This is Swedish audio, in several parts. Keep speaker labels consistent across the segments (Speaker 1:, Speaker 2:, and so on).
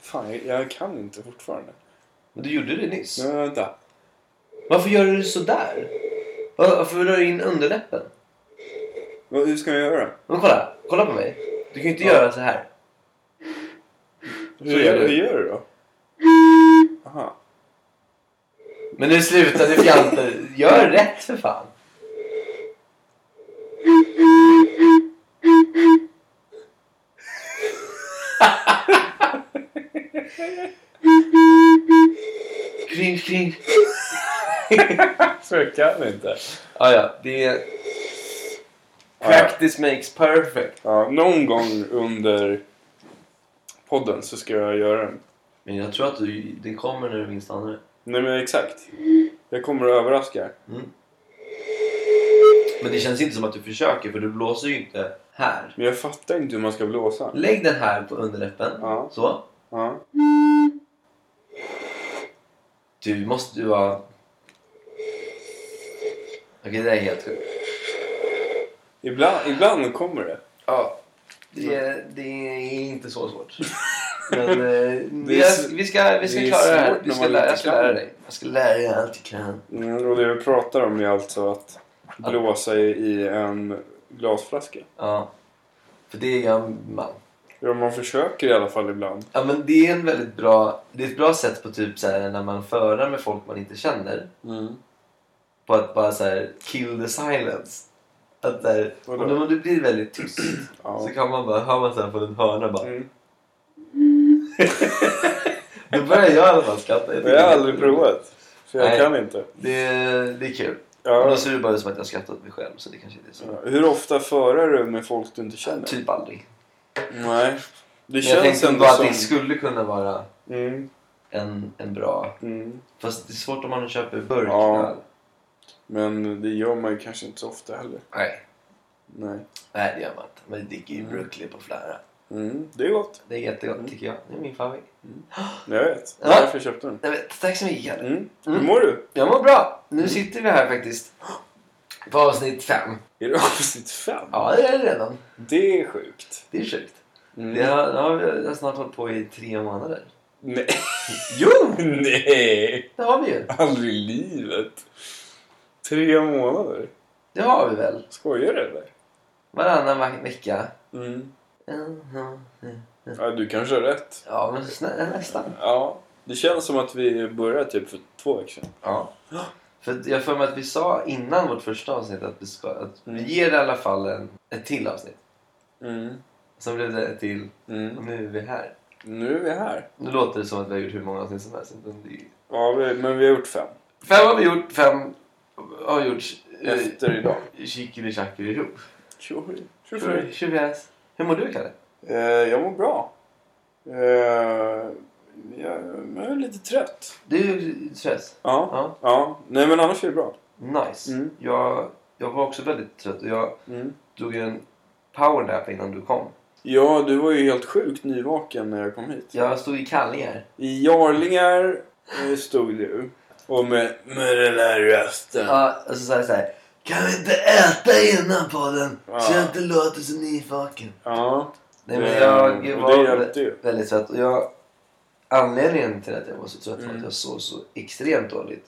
Speaker 1: Fan, jag, jag kan inte fortfarande.
Speaker 2: Du gjorde det nyss.
Speaker 1: Men vänta.
Speaker 2: Varför gör du sådär? Var- Varför vill du ha in underläppen?
Speaker 1: Vad, hur ska jag göra?
Speaker 2: Men kolla, kolla på mig. Du kan ju inte göra så här.
Speaker 1: Hur,
Speaker 2: gör
Speaker 1: gör,
Speaker 2: du.
Speaker 1: hur gör du då? Aha.
Speaker 2: Men nu slutar du fjanta. Gör rätt för fan. Cringe, cringe.
Speaker 1: Så jag kan inte.
Speaker 2: Ah, ja, det är... Practice makes perfect.
Speaker 1: Ja, någon gång under podden så ska jag göra den.
Speaker 2: Men jag tror att du, den kommer när du minst anar det.
Speaker 1: Nej men exakt. Jag kommer att överraska.
Speaker 2: Men det känns inte som att du försöker för du blåser ju inte här.
Speaker 1: Men jag fattar inte hur man ska blåsa.
Speaker 2: Lägg den här på underläppen.
Speaker 1: Ja.
Speaker 2: Så.
Speaker 1: Ja.
Speaker 2: Du måste ju vara... Okej, det där är helt sjukt.
Speaker 1: Ibland, ibland kommer det.
Speaker 2: Ja. Det är, det är inte så svårt. Men eh,
Speaker 1: Det är
Speaker 2: jag,
Speaker 1: s-
Speaker 2: vi ska, vi ska
Speaker 1: det är
Speaker 2: klara det här.
Speaker 1: svårt
Speaker 2: Vi
Speaker 1: när
Speaker 2: ska
Speaker 1: man
Speaker 2: lära,
Speaker 1: inte
Speaker 2: jag ska
Speaker 1: kan.
Speaker 2: lära dig. Jag ska lära dig allt jag kan.
Speaker 1: Mm, Och det vi pratar om är alltså att blåsa i- i en glasflaska.
Speaker 2: Ja. För det är jag man.
Speaker 1: Ja, man försöker i alla fall ibland.
Speaker 2: Ja, men det är en väldigt bra... Det är ett bra sätt på typ så här när man förar med folk man inte känner. På att bara så här kill the silence. Att så här, om,
Speaker 1: Vadå?
Speaker 2: du- om du blir väldigt tyst
Speaker 1: Ja.
Speaker 2: så kan man bara, hör man så här från en hörna bara
Speaker 1: Mm.
Speaker 2: Då börjar jag i alla fall skratta.
Speaker 1: Jag
Speaker 2: tycker
Speaker 1: Mm. har
Speaker 2: det är
Speaker 1: aldrig
Speaker 2: jätteroligt.
Speaker 1: provat. För jag
Speaker 2: Nej.
Speaker 1: kan inte.
Speaker 2: Det, det är kul. Men alltså-
Speaker 1: Ja.
Speaker 2: då ser det bara ut som att jag skrattar åt mig själv så det kanske inte är så.
Speaker 1: Hur ofta förar du med folk du inte känner?
Speaker 2: Typ aldrig.
Speaker 1: Nej. Det
Speaker 2: Men jag
Speaker 1: känns
Speaker 2: tänkte
Speaker 1: ändå
Speaker 2: bara att
Speaker 1: som...
Speaker 2: det skulle kunna vara
Speaker 1: Mm.
Speaker 2: en, en bra...
Speaker 1: Mm.
Speaker 2: Fast det är svårt om man köper burk.
Speaker 1: Ja. Men det gör man ju kanske inte så ofta heller.
Speaker 2: Nej.
Speaker 1: Nej.
Speaker 2: Nej, det gör man inte. Men det dricker ju Brooklyn på flera.
Speaker 1: Mm. Det är gott.
Speaker 2: Det är jättegott
Speaker 1: Mm.
Speaker 2: tycker jag. Det är min favorit.
Speaker 1: Jag vet.
Speaker 2: Ja.
Speaker 1: Det är därför jag köpte den.
Speaker 2: Nej, men, tack så mycket. Kalle.
Speaker 1: Mm.
Speaker 2: Mm.
Speaker 1: Hur mår du?
Speaker 2: Jag mår bra. Nu sitter vi här faktiskt. På avsnitt fem.
Speaker 1: Är du avsnitt fem?
Speaker 2: Ja, det är det redan.
Speaker 1: Det är sjukt.
Speaker 2: Det är sjukt.
Speaker 1: Mm.
Speaker 2: Det har, det har vi har snart hållit på i tre månader.
Speaker 1: Nej.
Speaker 2: Jo!
Speaker 1: Nej.
Speaker 2: Det har vi ju.
Speaker 1: Aldrig i livet. Tre månader.
Speaker 2: Det har vi väl.
Speaker 1: Skojar du eller?
Speaker 2: Varannan ve- vecka.
Speaker 1: Mm.
Speaker 2: Mhm.
Speaker 1: Ja, du kanske har rätt.
Speaker 2: Ja, men snä, eh, nästan.
Speaker 1: Ja. Det känns som att vi började typ för två veckor sedan.
Speaker 2: Ja. För att jag för mig att vi sa innan vårt första avsnitt att vi, ska, att vi
Speaker 1: Mm.
Speaker 2: ger i alla fall en, ett till avsnitt.
Speaker 1: Mm.
Speaker 2: Sen blev det ett till och
Speaker 1: Mm.
Speaker 2: nu är vi här.
Speaker 1: Nu är vi här.
Speaker 2: Nu låter det som att vi har gjort hur många avsnitt som helst. men det är ju-
Speaker 1: Ja, vi, men vi har gjort fem.
Speaker 2: Fem har vi gjort, fem har gjorts.
Speaker 1: Efter idag.
Speaker 2: Chickeli-chackeli-ro.
Speaker 1: Tjohej.
Speaker 2: Tjofräs. Hur mår du, Kalle?
Speaker 1: Eh, jag mår bra. Eh, jag, jag är lite trött.
Speaker 2: Du är stress.
Speaker 1: Ja.
Speaker 2: Ja.
Speaker 1: Ja. Nej, men annars är det bra.
Speaker 2: Nice.
Speaker 1: Mm.
Speaker 2: Jag, jag var också väldigt trött och jag
Speaker 1: Mm.
Speaker 2: tog en powernap innan du kom.
Speaker 1: Ja, du var ju helt sjukt nyvaken när jag kom hit.
Speaker 2: Jag stod i kallingar.
Speaker 1: I Jarlingar eh, stod du. Och med, med den här rösten.
Speaker 2: Ja, och så sa jag så här. Kan vi inte äta innan podden? Så
Speaker 1: Ja.
Speaker 2: jag inte låter så nyvaken.
Speaker 1: Ja.
Speaker 2: Nej
Speaker 1: Det-
Speaker 2: men jag
Speaker 1: och
Speaker 2: var
Speaker 1: det hjälpte ju.
Speaker 2: väldigt trött. Och jag, anledningen till att jag var så trött var att
Speaker 1: Mm.
Speaker 2: jag sov så extremt dåligt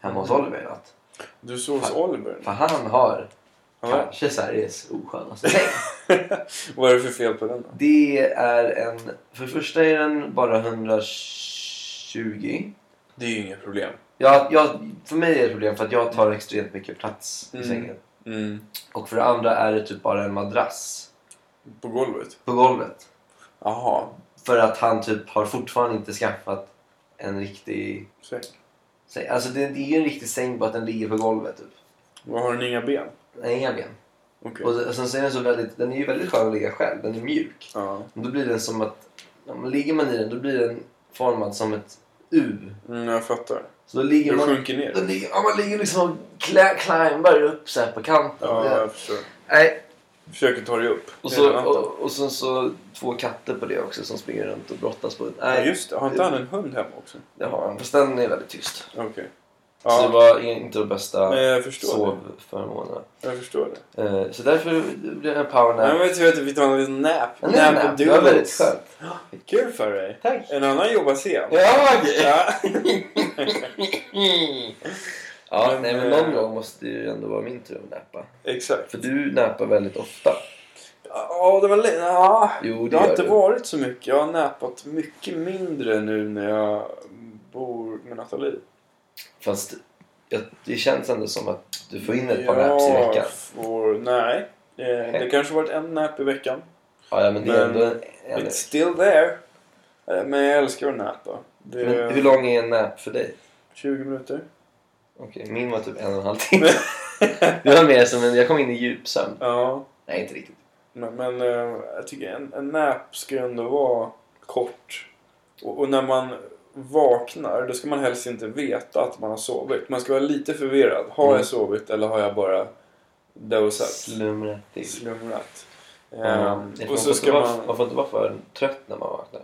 Speaker 2: hemma hos Oliver i natt.
Speaker 1: Du såg hos Oliver.
Speaker 2: För han har
Speaker 1: Ja.
Speaker 2: kanske Sveriges oskönaste säng.
Speaker 1: Vad är det för fel på den då?
Speaker 2: Det är en... För det första är den bara 120.
Speaker 1: Det är ju inget problem.
Speaker 2: Jag, jag, för mig är det ett problem för att jag tar extremt mycket plats i
Speaker 1: Mm.
Speaker 2: sängen.
Speaker 1: Mm.
Speaker 2: Och för det andra är det typ bara en madrass
Speaker 1: På golvet?
Speaker 2: på golvet.
Speaker 1: Jaha.
Speaker 2: För att han typ har fortfarande inte skaffat en riktig
Speaker 1: Säng.
Speaker 2: säng. Alltså det, det är ju en riktig säng bara att den ligger på golvet typ.
Speaker 1: Vad har den inga ben?
Speaker 2: Den har inga ben.
Speaker 1: Okej.
Speaker 2: Och, och sen så är den så väldigt, den är ju väldigt skön att ligga själv. Den är mjuk.
Speaker 1: Ja.
Speaker 2: Men då blir den som att, ja, men ligger man i den då blir den formad som ett U.
Speaker 1: Mm, jag fattar.
Speaker 2: Så då ligger
Speaker 1: Du
Speaker 2: man,
Speaker 1: sjunker ner?
Speaker 2: då ligger, ja, man ligger liksom och klä, climbar upp så här på kanten.
Speaker 1: Ja,
Speaker 2: Det-
Speaker 1: jag förstår.
Speaker 2: nej,
Speaker 1: Försöker ta dig upp.
Speaker 2: Och,
Speaker 1: hela
Speaker 2: så,
Speaker 1: natten.
Speaker 2: och, och sen så två katter på det också som springer runt och brottas på det.
Speaker 1: Ja,
Speaker 2: Nej,
Speaker 1: just det. Har inte han en hund hemma också?
Speaker 2: det har han. Fast den är väldigt tyst.
Speaker 1: Okej.
Speaker 2: Så det var inte de bästa
Speaker 1: Nej, jag förstår det.
Speaker 2: sovförmånerna.
Speaker 1: Jag förstår det.
Speaker 2: Eh, Så därför blev det en powernap.
Speaker 1: Nej, men jag tror att vi tar en liten nap.
Speaker 2: En liten nap. Det var
Speaker 1: doodles.
Speaker 2: väldigt skönt.
Speaker 1: Kul för dig.
Speaker 2: Tack.
Speaker 1: En annan jobbar sen.
Speaker 2: Jag!
Speaker 1: Ja.
Speaker 2: Ja,
Speaker 1: Men,
Speaker 2: nej men
Speaker 1: eh,
Speaker 2: någon gång måste det ju ändå vara min tur att näpa.
Speaker 1: Exakt.
Speaker 2: För du näpar väldigt ofta.
Speaker 1: Ja, det var lite... Ja.
Speaker 2: Jo,
Speaker 1: Det
Speaker 2: det
Speaker 1: har
Speaker 2: gör
Speaker 1: inte
Speaker 2: du.
Speaker 1: varit så mycket. Jag har näpat mycket mindre nu när jag bor med Nathalie.
Speaker 2: Fast jag, det känns ändå som att du får in ett par naps i veckan.
Speaker 1: Får, nej. Eh, Det kanske varit en nap i veckan.
Speaker 2: Ja, ja men det är
Speaker 1: Men-
Speaker 2: ändå en... en
Speaker 1: It's still there. Eh, Men jag älskar att näpa. Det är
Speaker 2: men hur lång är en näp för dig?
Speaker 1: 20 minuter.
Speaker 2: Okej, min var typ en och en halv timme. Det var mer som en... Jag kom in i djupsömn.
Speaker 1: ja.
Speaker 2: Nej, inte riktigt.
Speaker 1: Men, men eh, jag tycker en, en nap ska ju ändå vara kort. Och, och när man vaknar, då ska man helst inte veta att man har sovit. Man ska vara lite förvirrad. Har
Speaker 2: Mm.
Speaker 1: jag sovit eller har jag bara dozat?
Speaker 2: Slumrat till.
Speaker 1: Slumrat.
Speaker 2: Ja,
Speaker 1: Ehm,
Speaker 2: för
Speaker 1: och
Speaker 2: man,
Speaker 1: så
Speaker 2: får
Speaker 1: ska
Speaker 2: inte vara,
Speaker 1: man...
Speaker 2: man får inte vara för trött när man vaknar.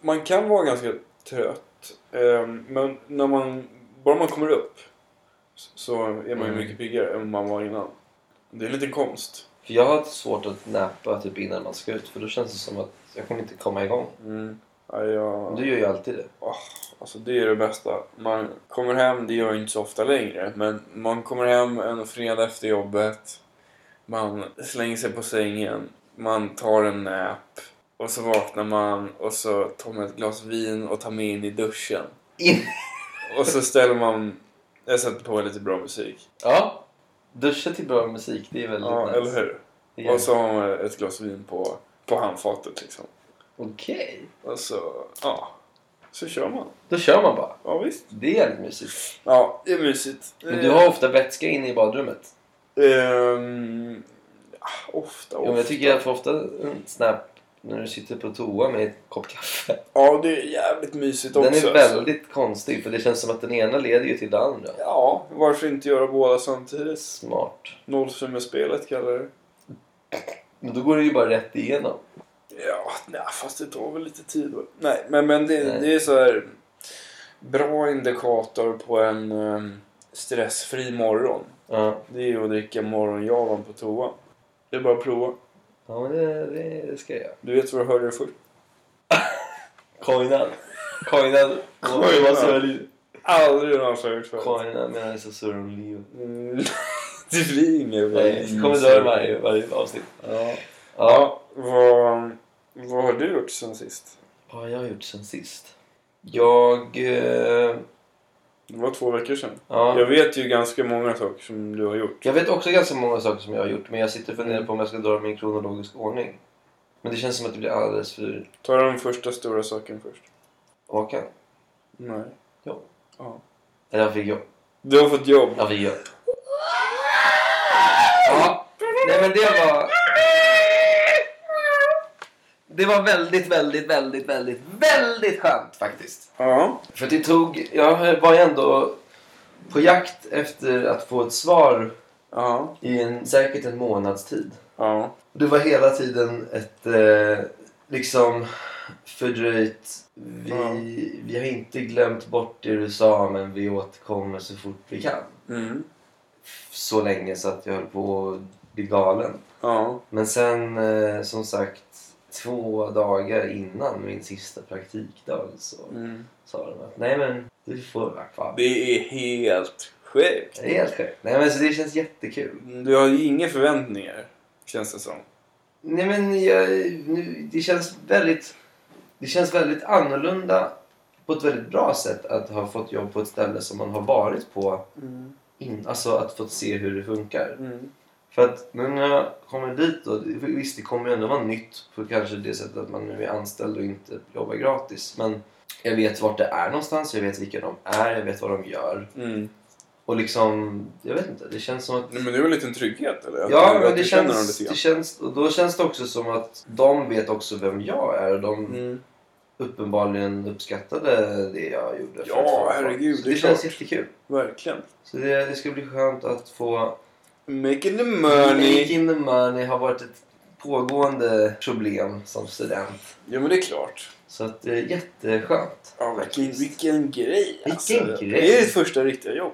Speaker 1: Man kan vara ganska trött. ehm, men när man... Bara man kommer upp så- så är man ju
Speaker 2: Mm.
Speaker 1: mycket piggare än man var innan. Det är en liten konst.
Speaker 2: För jag har svårt att näpa typ innan man ska ut för då känns det som att jag kommer inte komma igång.
Speaker 1: Ja, jag...
Speaker 2: Mm. Du gör ju alltid det.
Speaker 1: Åh, alltså det är det bästa. Man kommer hem, det gör jag inte så ofta längre, men man kommer hem en fredag efter jobbet. Man slänger sig på sängen, man tar en nap och så vaknar man och så tar man ett glas vin och tar med in i duschen.
Speaker 2: In.
Speaker 1: Och så ställer man... Jag sätter på lite bra musik.
Speaker 2: Ja. Duscha till bra musik, det är väldigt
Speaker 1: Ja,
Speaker 2: nice.
Speaker 1: eller hur?
Speaker 2: Det gör
Speaker 1: Och så har man ett glas vin på, på handfatet liksom.
Speaker 2: jag. Okej.
Speaker 1: Och så, ja. Så kör man.
Speaker 2: Då kör man bara.
Speaker 1: Ja, visst.
Speaker 2: Det är jävligt mysigt.
Speaker 1: Ja, det är mysigt.
Speaker 2: Men du har ofta vätska inne i badrummet.
Speaker 1: Ehm, ja, ofta,
Speaker 2: Jo,
Speaker 1: ofta.
Speaker 2: men jag tycker jag får ofta en snap när du sitter på toa med en kopp kaffe.
Speaker 1: Ja, det är jävligt mysigt
Speaker 2: Den
Speaker 1: också.
Speaker 2: är
Speaker 1: alltså.
Speaker 2: väldigt konstig för det känns som att den ena leder ju till den andra.
Speaker 1: Ja, varför inte göra båda samtidigt?
Speaker 2: Smart.
Speaker 1: Nollsummespelet kallar jag det.
Speaker 2: Men då går det ju bara rätt igenom.
Speaker 1: Ja, nej, fast det tar väl lite tid. va? Nej, men, men det,
Speaker 2: Nej.
Speaker 1: det är så här bra indikator på en ehm, stressfri morgon.
Speaker 2: Ja,
Speaker 1: Det är ju att dricka morgonjavan på toa. Det är bara att prova.
Speaker 2: ja men det, det, det ska jag göra.
Speaker 1: Du vet vad du hörde det först.
Speaker 2: Coinad. Coinad.
Speaker 1: Coinad. Aldrig någonsin har jag gjort förut.
Speaker 2: Coinad menar jag så surrar om livet.
Speaker 1: Mm. Det blir inget bra.
Speaker 2: Jag kommer dra det varje, varje avsnitt.
Speaker 1: Ja.
Speaker 2: Ja.
Speaker 1: Ja, vad, vad har du gjort sen sist?
Speaker 2: Vad har jag gjort sen sist? Jag... eh,
Speaker 1: Det var två veckor sedan. Jag
Speaker 2: Ja.
Speaker 1: vet ju ganska många saker som du har gjort.
Speaker 2: Jag vet också ganska många saker som jag har gjort men jag sitter och funderar på om jag ska dra dem i en kronologisk ordning. Men det känns som att det blir alldeles för
Speaker 1: Ta den första stora saken först.
Speaker 2: Håkan.
Speaker 1: Nej.
Speaker 2: Eller jag fick jobb.
Speaker 1: Du har fått jobb.
Speaker 2: Ja, vi gör. Ja. Nej, men det var... Det var väldigt, väldigt, väldigt, väldigt, väldigt skönt faktiskt.
Speaker 1: Ja.
Speaker 2: För det tog... Jag var ju ändå på jakt efter att få ett svar
Speaker 1: Ja.
Speaker 2: i en, säkert en månads tid.
Speaker 1: Ja.
Speaker 2: Och Det var hela tiden ett eh, liksom fördröjt... Vi,
Speaker 1: Ja.
Speaker 2: vi har inte glömt bort det du sa men vi återkommer så fort vi kan
Speaker 1: Mm.
Speaker 2: så länge så att jag höll på att bli galen.
Speaker 1: Ja.
Speaker 2: Men sen eh, som sagt två dagar innan min sista praktikdag så
Speaker 1: Mm.
Speaker 2: sa de att nej men du får vara kvar.
Speaker 1: Det är helt sjukt.
Speaker 2: Det är helt sjukt. Nej men så det känns jättekul.
Speaker 1: Du har ju inga förväntningar. Känns det som.
Speaker 2: Nej men jag, nu, det känns väldigt det känns väldigt annorlunda på ett väldigt bra sätt att ha fått jobb på ett ställe som man har varit på
Speaker 1: Mm.
Speaker 2: in, alltså att få se hur det funkar.
Speaker 1: Mm.
Speaker 2: För att nu när jag kommer dit då, visst det kommer ju ändå vara nytt på kanske det sättet att man nu är anställd och inte jobbar gratis. Men jag vet vart det är någonstans, jag vet vilka de är, jag vet vad de gör.
Speaker 1: Mm.
Speaker 2: Och liksom, jag vet inte, det känns som att...
Speaker 1: Nej, men det är väl en liten trygghet eller? Att du-
Speaker 2: Ja,
Speaker 1: att
Speaker 2: men
Speaker 1: du
Speaker 2: det
Speaker 1: känner dem
Speaker 2: känns,
Speaker 1: lite
Speaker 2: det
Speaker 1: grann.
Speaker 2: känns... Och då känns det också som att de vet också vem jag är och de
Speaker 1: Mm.
Speaker 2: uppenbarligen uppskattade det jag gjorde. för
Speaker 1: Ja,
Speaker 2: att få-
Speaker 1: herregud,
Speaker 2: Så
Speaker 1: det
Speaker 2: det
Speaker 1: är
Speaker 2: känns
Speaker 1: klart.
Speaker 2: jättekul.
Speaker 1: Verkligen.
Speaker 2: Så det, det ska bli skönt att få
Speaker 1: Making the
Speaker 2: Money.
Speaker 1: money.
Speaker 2: in the money har varit ett pågående problem som student.
Speaker 1: Ja men det är klart.
Speaker 2: Så att det är jätteskönt.
Speaker 1: Ja, vilken, vilken grej alltså.
Speaker 2: Vilken grej.
Speaker 1: Det är ditt första riktiga jobb.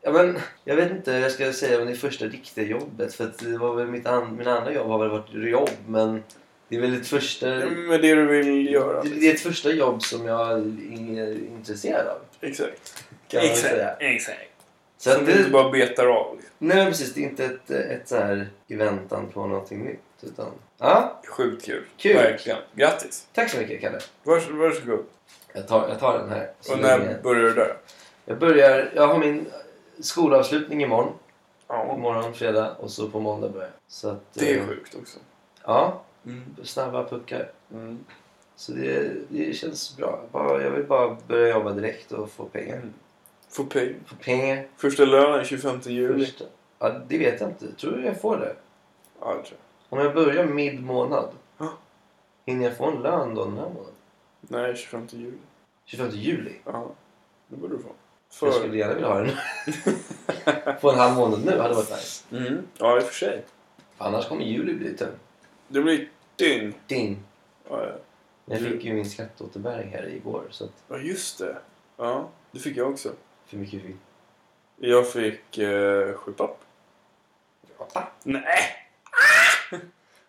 Speaker 2: Ja, men, jag vet inte jag ska säga om det är första riktiga jobbet. För att det var väl mitt an- mina andra jobb har väl varit jobb. Men det är väl ett första...
Speaker 1: Med det du vill göra.
Speaker 2: Mm.
Speaker 1: liksom.
Speaker 2: Det det är ett första jobb som jag är intresserad av.
Speaker 1: Exakt.
Speaker 2: Kan man väl säga.
Speaker 1: Exakt. Så
Speaker 2: Så att
Speaker 1: att du inte
Speaker 2: det,
Speaker 1: bara betar av. liksom.
Speaker 2: nej men precis, det är inte ett, ett så här i väntan på någonting nytt. Utan, ja,
Speaker 1: Sjukt kul.
Speaker 2: Kul.
Speaker 1: Verkligen. Grattis.
Speaker 2: tack så mycket Kalle.
Speaker 1: Vars, varsågod.
Speaker 2: Jag tar, jag tar den här. Så
Speaker 1: Och när
Speaker 2: länge.
Speaker 1: börjar du där?
Speaker 2: Jag börjar, jag har min skolavslutning imorgon.
Speaker 1: Ja.
Speaker 2: Imorgon fredag och så på måndag börjar jag. Så att,
Speaker 1: Det
Speaker 2: eh,
Speaker 1: är sjukt också.
Speaker 2: Ja,
Speaker 1: Mm.
Speaker 2: snabba puckar.
Speaker 1: Mm.
Speaker 2: Så det, det känns bra. Bara, jag vill bara börja jobba direkt och få pengar.
Speaker 1: Får pay.
Speaker 2: Få pengar
Speaker 1: Första lönen 25 juli.
Speaker 2: först. Ja, det vet jag inte. Tror du jag får det?
Speaker 1: Ja, det tror jag.
Speaker 2: Om jag börjar mid-månad.
Speaker 1: Ja.
Speaker 2: Hinner jag få en lön då den här månaden?
Speaker 1: Nej, 25 juli.
Speaker 2: 25 juli?
Speaker 1: Ja. Det borde du få.
Speaker 2: För... Jag skulle
Speaker 1: För...
Speaker 2: gärna vilja ha den. få en halv månad nu hade varit nice.
Speaker 1: Mm. Ja, i och för sig.
Speaker 2: Annars kommer juli bli tung.
Speaker 1: Det blir dygn.
Speaker 2: Din.
Speaker 1: Ja, ja.
Speaker 2: Jag
Speaker 1: Du-
Speaker 2: fick ju min skatteåterbäring här igår. Så att
Speaker 1: ja, just det. Ja, det fick jag också.
Speaker 2: för mycket fick
Speaker 1: Jag fick eh, sju papp.
Speaker 2: jag.
Speaker 1: Nej! Ah!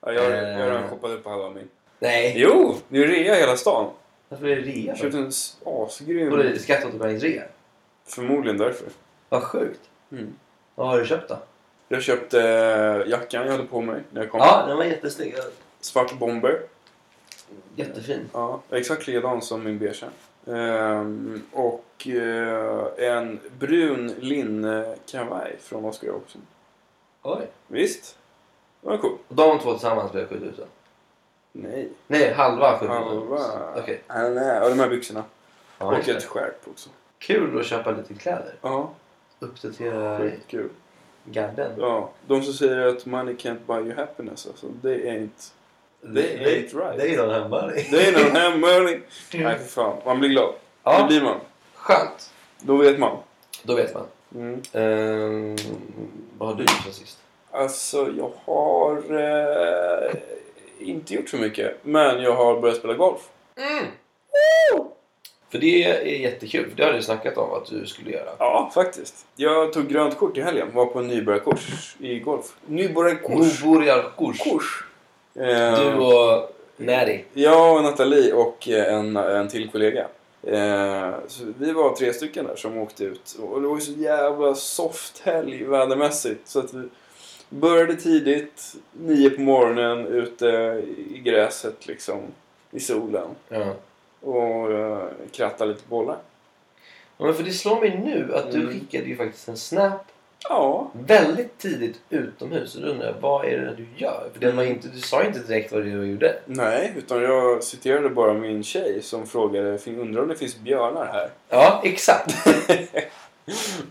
Speaker 1: Ja, jag, jag har redan
Speaker 2: Eh.
Speaker 1: shoppat upp halva min.
Speaker 2: Nej.
Speaker 1: Jo! Det är rea i hela stan.
Speaker 2: Varför är det
Speaker 1: Jag
Speaker 2: rea?
Speaker 1: köpte en s- asgrym...
Speaker 2: Var det skatteåterbäringsrea?
Speaker 1: Förmodligen därför.
Speaker 2: Vad sjukt.
Speaker 1: Mm.
Speaker 2: Vad har du köpt då?
Speaker 1: Jag köpte eh, jackan jag hade på mig när jag kom.
Speaker 2: Ja, den var jättesnygg.
Speaker 1: Svart bomber.
Speaker 2: Jättefin.
Speaker 1: Ja, exakt likadan som min beige. Ehm, och eh, en brun linnekavaj från Oscar Robertson.
Speaker 2: Oj.
Speaker 1: Visst? Det var cool.
Speaker 2: Och de två tillsammans blev 7000?
Speaker 1: Nej.
Speaker 2: Nej, halva 7000.
Speaker 1: Halva.
Speaker 2: Mm. Okej.
Speaker 1: Ja, nej. Och de här byxorna.
Speaker 2: Ja,
Speaker 1: och
Speaker 2: just det.
Speaker 1: ett skärp också.
Speaker 2: Kul att köpa lite kläder.
Speaker 1: Ja,
Speaker 2: Uppdatera
Speaker 1: skitkul.
Speaker 2: garden.
Speaker 1: Ja, de som säger att money can't buy you happiness alltså, det är inte... Det är inte right.
Speaker 2: Det är någon hemma.
Speaker 1: Det är någon här money... Nej för fan, man blir glad. Det
Speaker 2: Ja,
Speaker 1: blir man.
Speaker 2: skönt.
Speaker 1: Då vet man.
Speaker 2: Då vet man.
Speaker 1: Mm.
Speaker 2: Ehm, vad har du gjort sen sist?
Speaker 1: Alltså jag har eh, inte gjort så mycket. Men jag har börjat spela golf. Mm.
Speaker 2: För det är jättekul. För det har du snackat om att du skulle göra.
Speaker 1: Ja, faktiskt. Jag tog grönt kort i helgen. Var på en nybörjarkurs i golf. Nybörjarkurs?
Speaker 2: Nordborgarkurs.
Speaker 1: Kurs!
Speaker 2: Du
Speaker 1: Eh,
Speaker 2: och Neri.
Speaker 1: jag och Nathalie och eh, en, en till kollega. Eh, så vi var tre stycken där som åkte ut. Och det var ju så jävla soft helg vädermässigt. Så att vi började tidigt, nio på morgonen, ute i gräset liksom. I solen.
Speaker 2: Ja.
Speaker 1: och uh, kratta lite bollar.
Speaker 2: Ja, Men för det slår mig nu att du
Speaker 1: Mm.
Speaker 2: skickade ju faktiskt en snap
Speaker 1: Ja,
Speaker 2: väldigt tidigt utomhus. Och då undrar jag, vad är det du gör? För det var
Speaker 1: Mm.
Speaker 2: inte, du sa ju inte direkt vad det är du gjorde.
Speaker 1: nej, utan jag citerade bara min tjej som frågade "Fin- undrar om det finns björnar här.
Speaker 2: Ja, exakt.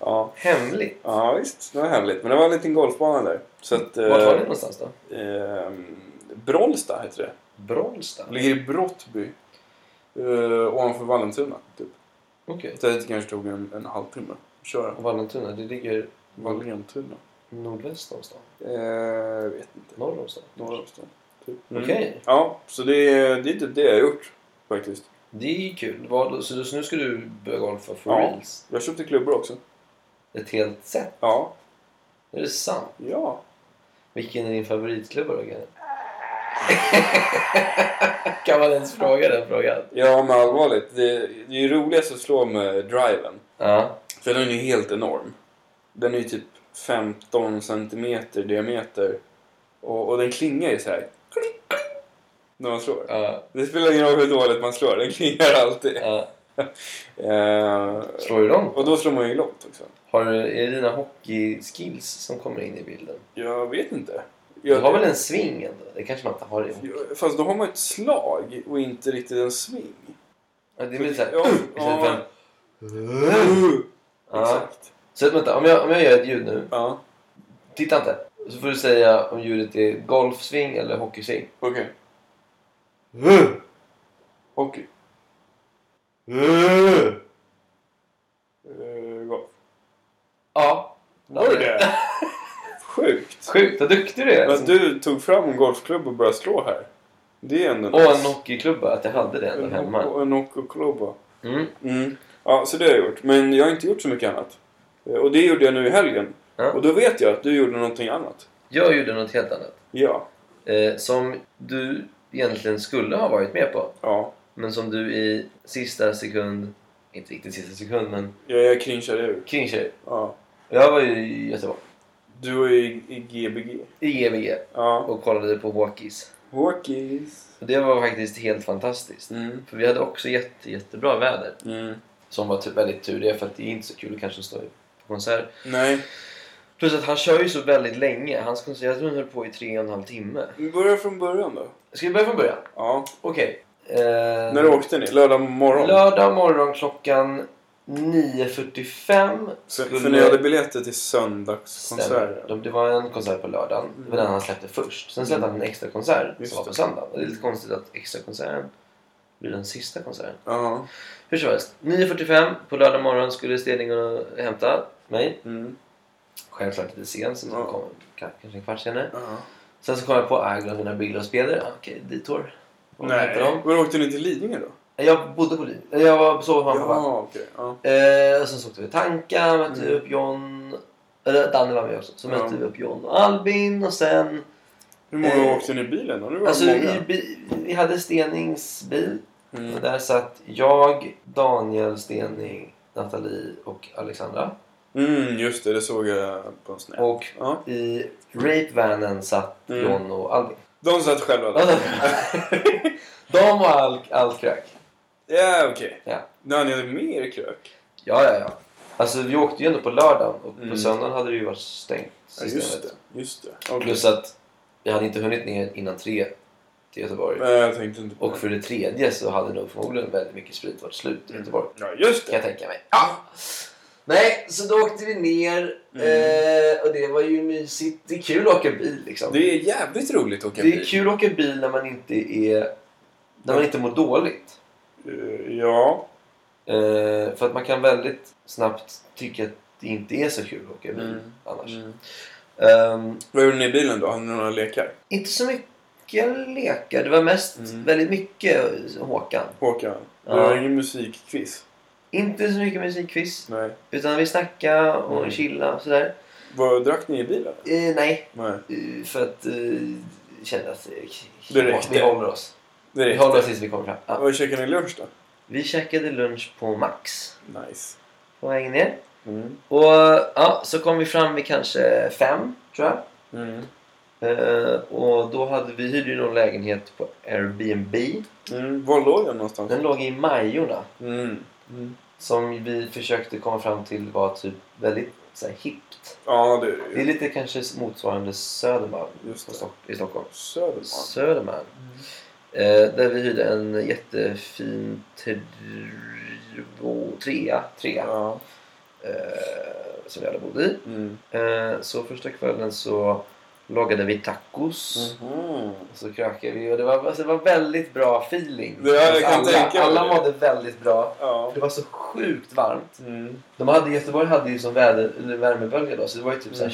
Speaker 1: Ja,
Speaker 2: Hemligt.
Speaker 1: ja visst, det var hemligt. Men det var en liten golfbana där. Så att, eh,
Speaker 2: Vart var det någonstans då?
Speaker 1: ehm, Brollsta heter det.
Speaker 2: Brolsta?
Speaker 1: Det Ligger i Brottby. Uh, ovanför Vallentuna. Typ.
Speaker 2: Okej.
Speaker 1: Så Det kanske tog en, en halvtimme att köra.
Speaker 2: Vallentuna, det ligger
Speaker 1: Vallentuna?
Speaker 2: nordväst om stan?
Speaker 1: Eh, vet inte.
Speaker 2: Norr om stan?
Speaker 1: Norr om stan. Typ. Mm.
Speaker 2: Okej.
Speaker 1: Ja, så det, är- det är typ det jag har gjort faktiskt.
Speaker 2: Det är kul. Vad, så nu ska du börja golfa for
Speaker 1: Ja.
Speaker 2: reals?
Speaker 1: Jag köpte klubbor också.
Speaker 2: Ett helt set?
Speaker 1: Ja,
Speaker 2: Är det sant?
Speaker 1: ja.
Speaker 2: Vilken är din favoritklubba då, Kalle? kan man ens fråga den frågan?
Speaker 1: Ja, men allvarligt. Det, det är ju roligast att slå med driven.
Speaker 2: Ja.
Speaker 1: För den är ju helt enorm. Den är ju typ 15 centimeter i diameter. Och, och den klingar ju så här. När man slår.
Speaker 2: ja,
Speaker 1: Det spelar ingen roll hur dåligt man slår. Den klingar alltid.
Speaker 2: ja.
Speaker 1: Eh,
Speaker 2: Slår du dem?
Speaker 1: och då slår man ju långt också.
Speaker 2: Har du, är det dina hockeyskills som kommer in i bilden?
Speaker 1: Jag vet inte.
Speaker 2: Du
Speaker 1: Jag,
Speaker 2: har väl en sving ändå? Det kanske man inte har i
Speaker 1: Fast då har man ett slag och inte riktigt en sving.
Speaker 2: Ja, Det är väl såhär...
Speaker 1: Ja,
Speaker 2: istället för en- Ja.
Speaker 1: Exakt.
Speaker 2: Så att, vänta, om jag, om jag gör ett ljud nu.
Speaker 1: Ja,
Speaker 2: Titta inte. Så får du säga om ljudet är golfsving eller hockeysving.
Speaker 1: okej. Hockey. Uh,
Speaker 2: Ja.
Speaker 1: Eh, Var det det? Sjukt.
Speaker 2: Sjukt vad duktig du är.
Speaker 1: Men att du tog fram en golfklubb och började slå här. Det är ändå
Speaker 2: Och en hockeyklubba, att jag hade det ändå
Speaker 1: En
Speaker 2: hemma.
Speaker 1: hockey- En hockeyklubba.
Speaker 2: Mm.
Speaker 1: Mm. Ja, så det har jag gjort. Men jag har inte gjort så mycket annat. Eh, Och det gjorde jag nu i helgen.
Speaker 2: Ja.
Speaker 1: Och då vet jag att du gjorde någonting annat.
Speaker 2: Jag gjorde något helt annat.
Speaker 1: Ja.
Speaker 2: Eh, som du egentligen skulle ha varit med på.
Speaker 1: Ja.
Speaker 2: Men som du i sista sekund, inte riktigt sista sekund, men
Speaker 1: Jag, jag cringeade ur.
Speaker 2: kringkör.
Speaker 1: Ja.
Speaker 2: Jag var ju i Göteborg,
Speaker 1: Du var ju i, i GBG.
Speaker 2: i GBG,
Speaker 1: Ja.
Speaker 2: och kollade på walkies.
Speaker 1: Walkies.
Speaker 2: Och det var faktiskt helt fantastiskt.
Speaker 1: Mm.
Speaker 2: För vi hade också jätte, jättebra väder.
Speaker 1: Mm.
Speaker 2: Som var typ väldigt tur det, för att det är inte så kul kanske att stå på konsert.
Speaker 1: Nej.
Speaker 2: Plus att han kör ju så väldigt länge. Hans konsert, jag tror han höll på i tre och en halv timme.
Speaker 1: Vi börjar från början då.
Speaker 2: Ska vi börja från början?
Speaker 1: Ja.
Speaker 2: Okej. Eh,
Speaker 1: När åkte ni? Lördag morgon?
Speaker 2: Lördag morgon klockan 9.45
Speaker 1: Så,
Speaker 2: skulle-
Speaker 1: för ni hade biljetter till
Speaker 2: Stämmer.
Speaker 1: söndagskonserten?
Speaker 2: De- Det var en konsert på lördagen. Det var den han släppte först. Sen släppte han en extra konsert
Speaker 1: Mm. Just
Speaker 2: som var
Speaker 1: det.
Speaker 2: på söndagen. Och det är lite konstigt att extra konserten blir den sista konserten.
Speaker 1: Ja.
Speaker 2: Hur som helst. 9.45 på lördag morgon skulle Steningarna hämta mig.
Speaker 1: Mm.
Speaker 2: Självklart lite sen. Sen så
Speaker 1: Ja.
Speaker 2: kom jag kanske en kvart senare.
Speaker 1: Ja.
Speaker 2: Sen så kom jag på att jag glömde mina bilder och spelare. Ah, Okej, detour. Och hämtade
Speaker 1: Nej.
Speaker 2: dem.
Speaker 1: Var åkte ni till Lidingö då?
Speaker 2: Jag bodde på Lidingö. Jag var sov hos mamma. och pappa.
Speaker 1: Ja, okej. Ja.
Speaker 2: Eh, och sen så åkte vi Tanka, mötte
Speaker 1: Mm.
Speaker 2: upp John... Eller Danne var med också. Så
Speaker 1: Ja.
Speaker 2: mötte vi upp John och Albin och sen...
Speaker 1: Hur många
Speaker 2: Eh,
Speaker 1: åkte ni i bilen då? Det var
Speaker 2: Alltså,
Speaker 1: många.
Speaker 2: vi, bi- vi hade Stenings bil. Och
Speaker 1: Mm.
Speaker 2: där satt jag, Daniel, Stening, Nathalie och Alexandra.
Speaker 1: Mm, just det. Det såg jag på en snäpp.
Speaker 2: Och
Speaker 1: Ja.
Speaker 2: i rapevanen satt
Speaker 1: Mm.
Speaker 2: John och Albin.
Speaker 1: De satt själva där?
Speaker 2: De och allt all krök.
Speaker 1: Ja, okej.
Speaker 2: Ja.
Speaker 1: Ja, ni hade med er krök?
Speaker 2: Ja, ja, ja. Alltså, vi åkte ju ändå på lördagen och på
Speaker 1: Mm.
Speaker 2: söndagen hade det ju varit stängt.
Speaker 1: Ja,
Speaker 2: Systemet.
Speaker 1: just det. Just det. Okej.
Speaker 2: Plus att jag hade inte hunnit ner innan tre till Göteborg.
Speaker 1: Nej, Eh, jag tänkte inte på
Speaker 2: Och för det tredje så hade nog förmodligen väldigt mycket sprit varit slut
Speaker 1: Mm.
Speaker 2: i Göteborg.
Speaker 1: det. Ja, just
Speaker 2: Kan
Speaker 1: det.
Speaker 2: jag tänka mig. Ja. Nej, så då åkte vi ner
Speaker 1: Mm.
Speaker 2: eh, och det var ju mysigt. Det är kul att åka bil liksom. Det,
Speaker 1: Det är jävligt roligt att åka
Speaker 2: är
Speaker 1: bil.
Speaker 2: kul att åka bil när man inte är... När man inte mår dåligt.
Speaker 1: Eh, Ja.
Speaker 2: Eh, för att man kan väldigt snabbt tycka att det inte är så kul att åka bil
Speaker 1: Mm.
Speaker 2: annars.
Speaker 1: Mm.
Speaker 2: Ehm,
Speaker 1: Vad gjorde ni i bilen då? Hade ni några lekar?
Speaker 2: inte så mycket lekar. Det var mest
Speaker 1: Mm.
Speaker 2: väldigt mycket Håkan.
Speaker 1: Håkan?
Speaker 2: Ja.
Speaker 1: Det var ingen musikquiz?
Speaker 2: Inte så mycket musikquiz.
Speaker 1: Nej.
Speaker 2: Utan vi snackade och
Speaker 1: Mm.
Speaker 2: chillade och sådär.
Speaker 1: Vad drack ni i bilen?
Speaker 2: Eh, nej,
Speaker 1: Nej.
Speaker 2: Eh, För att uh, känna att eh,
Speaker 1: Det räckte.
Speaker 2: vi håller oss.
Speaker 1: Det Mm.
Speaker 2: Vi håller
Speaker 1: räckte.
Speaker 2: oss tills vi kommer fram. Ja.
Speaker 1: Vad käkade ni lunch då?
Speaker 2: Vi käkade lunch på Max
Speaker 1: Nice.
Speaker 2: på vägen ner.
Speaker 1: Mm.
Speaker 2: Och ja, så kom vi fram vid kanske fem, tror jag.
Speaker 1: Mm.
Speaker 2: Eh, och då hade vi hyrde ju någon lägenhet på Airbnb.
Speaker 1: Mm. Var låg den någonstans?
Speaker 2: Den låg i Majorna.
Speaker 1: Mm. Mm.
Speaker 2: Som vi försökte komma fram till var typ väldigt så här, hippt.
Speaker 1: Ja, det
Speaker 2: Det
Speaker 1: är
Speaker 2: är lite kanske motsvarande Södermalm
Speaker 1: Just
Speaker 2: på
Speaker 1: det.
Speaker 2: Stock- i Stockholm.
Speaker 1: Södermalm.
Speaker 2: Södermalm. Eh, där vi hyrde en jättefin trio, trea, trea
Speaker 1: Ja.
Speaker 2: eh, som vi alla bodde i.
Speaker 1: Mm.
Speaker 2: Eh, så första kvällen så lagade vi tacos.
Speaker 1: Mhm.
Speaker 2: Och så krökade vi och det var, alltså, det var väldigt bra feeling. Alltså,
Speaker 1: Ja, jag kan
Speaker 2: alla,
Speaker 1: tänka mig
Speaker 2: alla
Speaker 1: det.
Speaker 2: mådde väldigt bra.
Speaker 1: Ja.
Speaker 2: Det var så sjukt varmt.
Speaker 1: Mm.
Speaker 2: De hade, Göteborg hade ju som väder, eller värmebölja då så det var ju typ
Speaker 1: Mm.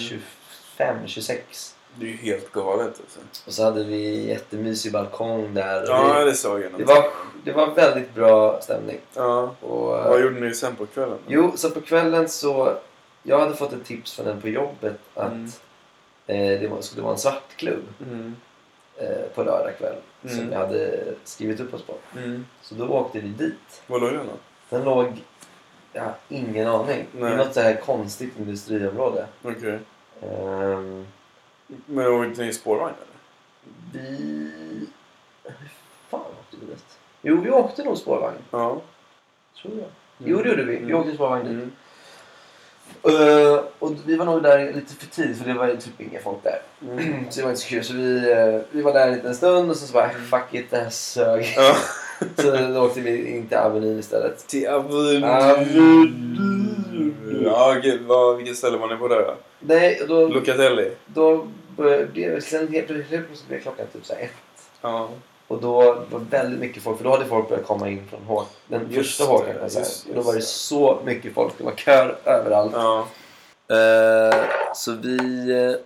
Speaker 2: mm. 25-26.
Speaker 1: Det är ju helt galet alltså.
Speaker 2: Och så hade vi jättemysig balkong där. och
Speaker 1: Ja,
Speaker 2: vi,
Speaker 1: det såg jag nog.
Speaker 2: det, var, det var väldigt bra stämning.
Speaker 1: Ja.
Speaker 2: Och, eh,
Speaker 1: Vad gjorde ni sen på kvällen?
Speaker 2: Jo, så på kvällen så... Jag hade fått ett tips från en på jobbet att
Speaker 1: Mm.
Speaker 2: eh, det var, skulle vara en svartklubb
Speaker 1: Mm.
Speaker 2: eh, på lördag kväll som
Speaker 1: Mm.
Speaker 2: jag hade skrivit upp oss på.
Speaker 1: Mm.
Speaker 2: Så då åkte vi dit.
Speaker 1: Var låg den då?
Speaker 2: Den låg... Jag har ingen aning.
Speaker 1: Nej.
Speaker 2: I något så här konstigt industriområde.
Speaker 1: Okej.
Speaker 2: Ehm,
Speaker 1: Men var inte ni i spårvagn eller?
Speaker 2: vi... Hur fan åkte vi dit? Jo, vi åkte nog spårvagn.
Speaker 1: Ja.
Speaker 2: Tror jag. Jo, det gjorde vi. Vi
Speaker 1: Mm.
Speaker 2: åkte spårvagn dit.
Speaker 1: Mm.
Speaker 2: Eh, och vi var nog där lite för tid för det var ju typ inga folk där.
Speaker 1: Mm.
Speaker 2: Så det var inte så kul. Så vi, eh, vi var där en liten stund och sen så bara fuck it, det här sög.
Speaker 1: Mm. Ja.
Speaker 2: Så då åkte vi in till Avenyn istället.
Speaker 1: Till
Speaker 2: Avenue.
Speaker 1: Ja, okej. Vad- vilket ställe var ni på där då?
Speaker 2: Nej, och då,
Speaker 1: Locatelli?
Speaker 2: då började det... Sen helt plötsligt helt plötsligt blev klockan typ så här ett.
Speaker 1: Ja.
Speaker 2: Och då var det väldigt mycket folk. För då hade folk börjat komma in från Hå- den
Speaker 1: Just
Speaker 2: första Håkan.
Speaker 1: det,
Speaker 2: kan jag säga.
Speaker 1: just-
Speaker 2: Och då
Speaker 1: just
Speaker 2: var det
Speaker 1: det.
Speaker 2: så mycket folk. Det var köer överallt.
Speaker 1: Ja.
Speaker 2: Eh, så vi... eh,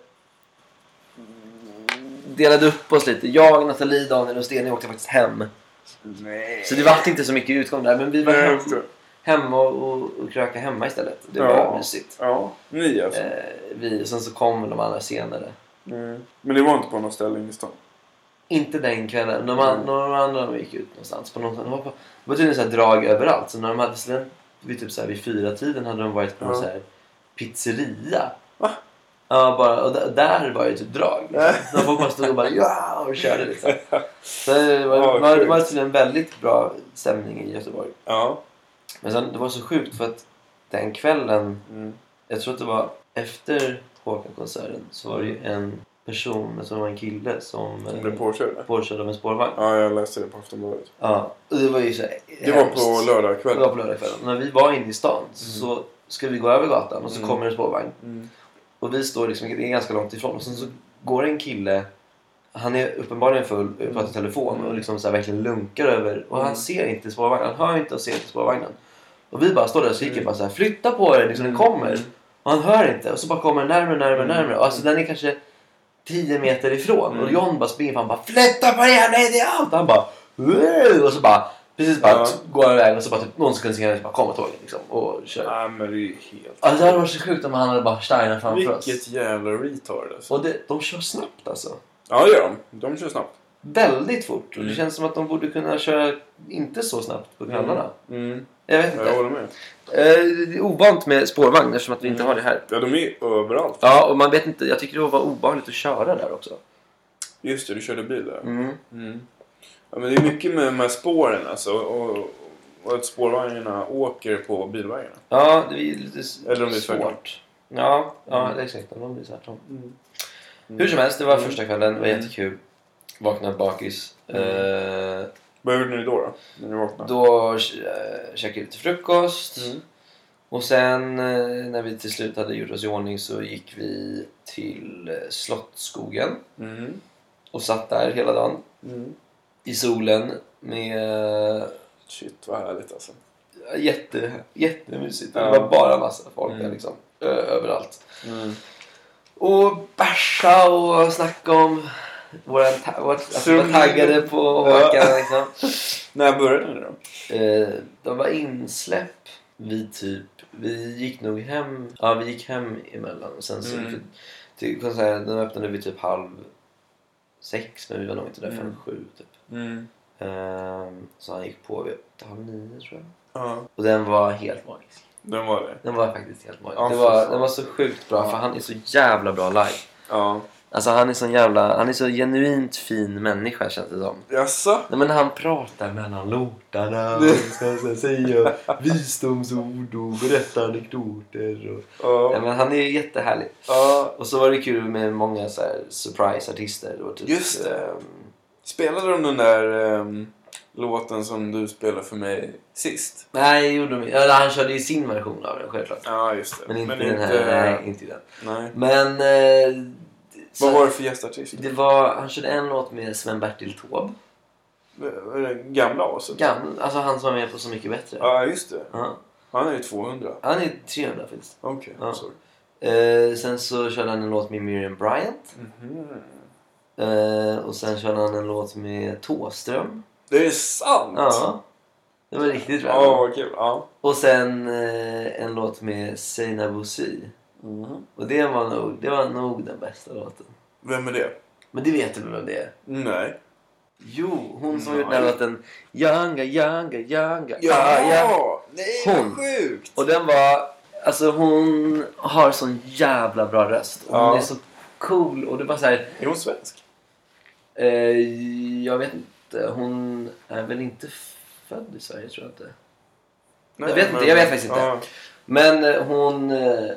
Speaker 2: delade upp oss lite. Jag, Nathalie, Daniel och Steni åkte faktiskt hem.
Speaker 1: Nej.
Speaker 2: Så det var inte så mycket utgång där. Men vi var
Speaker 1: Nej,
Speaker 2: hem,
Speaker 1: just det.
Speaker 2: hemma och, och, och kröka hemma istället. Det var
Speaker 1: Ja.
Speaker 2: mysigt.
Speaker 1: Ja, ni alltså.
Speaker 2: Eh, vi, och sen så kom de andra senare.
Speaker 1: Mm. Men det var inte på något ställe inne i stan.
Speaker 2: Inte den kvällen. De,
Speaker 1: Mm.
Speaker 2: an- några andra de gick ut någonstans. På någon, de var på, det var tydligen så här drag överallt. Så när de hade sen, vid, typ så här, vid fyra tiden hade de varit på någon
Speaker 1: Ja.
Speaker 2: så här pizzeria.
Speaker 1: Va?
Speaker 2: Ja, bara, och d- där var det typ drag. Liksom. Så folk bara stod och bara ja och körde liksom. Så det var,
Speaker 1: Ja,
Speaker 2: det var, det
Speaker 1: sjukt.
Speaker 2: var tydligen en väldigt bra stämning i Göteborg.
Speaker 1: Ja.
Speaker 2: Men sen, det var så sjukt för att den kvällen,
Speaker 1: Mm.
Speaker 2: jag tror att det var efter Håkan-konserten så var det ju en person, jag tror det var en kille som,
Speaker 1: Som
Speaker 2: eh,
Speaker 1: blev påkörda.
Speaker 2: påkörd av en spårvagn.
Speaker 1: Ja, jag läste det på Aftonbladet.
Speaker 2: Ja, och det var ju så här
Speaker 1: Det var
Speaker 2: hemskt.
Speaker 1: på
Speaker 2: Det
Speaker 1: lördagskvällen.
Speaker 2: var på lördagskvällen. När vi var inne i stan så ska vi gå över gatan och så
Speaker 1: Mm.
Speaker 2: kommer en spårvagn.
Speaker 1: Mm.
Speaker 2: Och vi står liksom, det är ganska långt ifrån. Och sen så går en kille, han är uppenbarligen full, eh, pratar i telefon och liksom så här verkligen lunkar över. Och han
Speaker 1: Mm.
Speaker 2: ser inte spårvagnen, han hör inte och ser inte spårvagnen. Och vi bara står där och skriker
Speaker 1: Mm.
Speaker 2: bara så här, flytta på dig, liksom den kommer. Och han hör inte och så bara kommer den närmare, närmare,
Speaker 1: Mm.
Speaker 2: närmare. Och Alltså den är kanske 10 meter ifrån.
Speaker 1: Mm.
Speaker 2: Och John bara springer fram och bara flytta på dig jävla idiot! Och han bara "Wow!" och så bara precis bara
Speaker 1: Ja.
Speaker 2: går han iväg och så bara typ någon sekund senare så bara kommer tåget liksom och kör.
Speaker 1: Nej, men det är ju helt...
Speaker 2: Alltså det hade varit så sjukt om han hade bara steinat framför oss.
Speaker 1: Vilket jävla retard alltså.
Speaker 2: Och det, de kör snabbt alltså.
Speaker 1: Ja, det gör de. De kör snabbt.
Speaker 2: Väldigt fort. Och det
Speaker 1: Mm.
Speaker 2: känns som att de borde kunna köra inte så snabbt på kvällarna.
Speaker 1: Mm.
Speaker 2: Jag vet
Speaker 1: Jag
Speaker 2: inte.
Speaker 1: håller med.
Speaker 2: Eh, Det är ovant med spårvagn eftersom att vi inte
Speaker 1: Mm.
Speaker 2: har det här.
Speaker 1: Ja, de är ju överallt.
Speaker 2: Ja, och man vet inte. Jag tycker det var obehagligt att köra där också.
Speaker 1: Just det, du körde bil där. Mm. Ja, men det är mycket med de här spåren alltså. Och, och att spårvagnarna åker på bilvägarna.
Speaker 2: Ja, det är ju lite s-
Speaker 1: Eller om det är
Speaker 2: svårt.
Speaker 1: tvärtom.
Speaker 2: Ja, ja
Speaker 1: Mm.
Speaker 2: det är exakt. Om de blir tvärtom.
Speaker 1: Mm.
Speaker 2: Hur som helst, det var
Speaker 1: Mm.
Speaker 2: första kvällen. Det var
Speaker 1: Mm.
Speaker 2: jättekul. Vaknade bakis.
Speaker 1: Mm.
Speaker 2: Eh,
Speaker 1: Vad gjorde ni då, då? När ni vaknade?
Speaker 2: då eh, käkade vi lite frukost.
Speaker 1: Mm.
Speaker 2: Och sen eh, när vi till slut hade gjort oss i ordning så gick vi till eh, Slottsskogen
Speaker 1: Mm.
Speaker 2: och satt där hela dagen
Speaker 1: Mm.
Speaker 2: i solen med eh,
Speaker 1: Shit, vad härligt alltså.
Speaker 2: jätte, jättemysigt.
Speaker 1: Ja.
Speaker 2: Det var bara massa folk där
Speaker 1: Mm.
Speaker 2: liksom. Ö- överallt.
Speaker 1: Mm.
Speaker 2: Och bärsa och snacka om våra ta- vårt- att vi var
Speaker 1: Sum-
Speaker 2: taggade på
Speaker 1: Ja.
Speaker 2: Håkan liksom.
Speaker 1: När började ni då?
Speaker 2: Eh, de var insläpp. Vi typ, vi gick nog hem, ja vi gick hem emellan. Och sen så,
Speaker 1: Mm.
Speaker 2: för, till konserten, den öppnade vi typ halv sex men vi var nog inte där förrän
Speaker 1: Mm.
Speaker 2: sju typ.
Speaker 1: Mm.
Speaker 2: Ehm, så han gick på vid halv nio tror jag.
Speaker 1: Ja,
Speaker 2: Och den var helt magisk.
Speaker 1: den var det.
Speaker 2: Den var faktiskt helt magisk.
Speaker 1: Ja,
Speaker 2: det
Speaker 1: för
Speaker 2: var,
Speaker 1: fan.
Speaker 2: den var så sjukt bra
Speaker 1: Ja.
Speaker 2: för han är så jävla bra live.
Speaker 1: Ja.
Speaker 2: Alltså han är sån jävla, han är så genuint fin människa känns det som.
Speaker 1: Jaså?
Speaker 2: Nej men han pratar mellan låtarna och ska så här säga visdomsord och berätta anekdoter. Och... Nej,
Speaker 1: Ja.
Speaker 2: men han är ju jättehärlig.
Speaker 1: ja.
Speaker 2: Och så var det kul med många så här surprise-artister. och Typ,
Speaker 1: Just det.
Speaker 2: ehm,
Speaker 1: Spelade de den där ehm, låten som du spelade för mig sist?
Speaker 2: nej, gjorde de... Eller, han körde ju sin version av den självklart.
Speaker 1: Ja, just det.
Speaker 2: Men inte den här. Nej, inte den.
Speaker 1: nej.
Speaker 2: Men... Eh, så-
Speaker 1: Vad var det för gästartist?
Speaker 2: det var, han körde en låt med Sven-Bertil Taube.
Speaker 1: Var det Gamla aset?
Speaker 2: Gammal, alltså han som var med på Så Mycket Bättre.
Speaker 1: Ja, just det.
Speaker 2: Ja.
Speaker 1: Han är ju 200.
Speaker 2: Han är 300 faktiskt.
Speaker 1: Okej,
Speaker 2: Ja.
Speaker 1: sorry.
Speaker 2: Eh, sen så körde han en låt med Miriam Bryant.
Speaker 1: Mhm.
Speaker 2: Eh, och sen körde han en låt med Tåström.
Speaker 1: Det är sant!
Speaker 2: Ja. Det var riktigt bra.
Speaker 1: Ja, vad kul. Ja.
Speaker 2: Och sen eh, en låt med Seina Bosi. Och det var, nog, det var nog den bästa låten.
Speaker 1: Vem är det?
Speaker 2: Men det vet du väl vem det är?
Speaker 1: Nej.
Speaker 2: Jo, hon som har gjort den
Speaker 1: Nej.
Speaker 2: här låten Yanga, Yanga, Yanga.
Speaker 1: Ja!
Speaker 2: Ah, ja.
Speaker 1: Nej,
Speaker 2: Hon.
Speaker 1: vad sjukt!
Speaker 2: Och den var... Alltså hon har sån jävla bra röst. Och Hon
Speaker 1: Ja.
Speaker 2: är så cool och det var så här...
Speaker 1: Är hon svensk?
Speaker 2: Eh, jag vet inte. Hon är väl inte född i Sverige tror jag inte. Jag vet inte, jag vet faktiskt inte.
Speaker 1: Ja.
Speaker 2: Men eh, hon... Eh,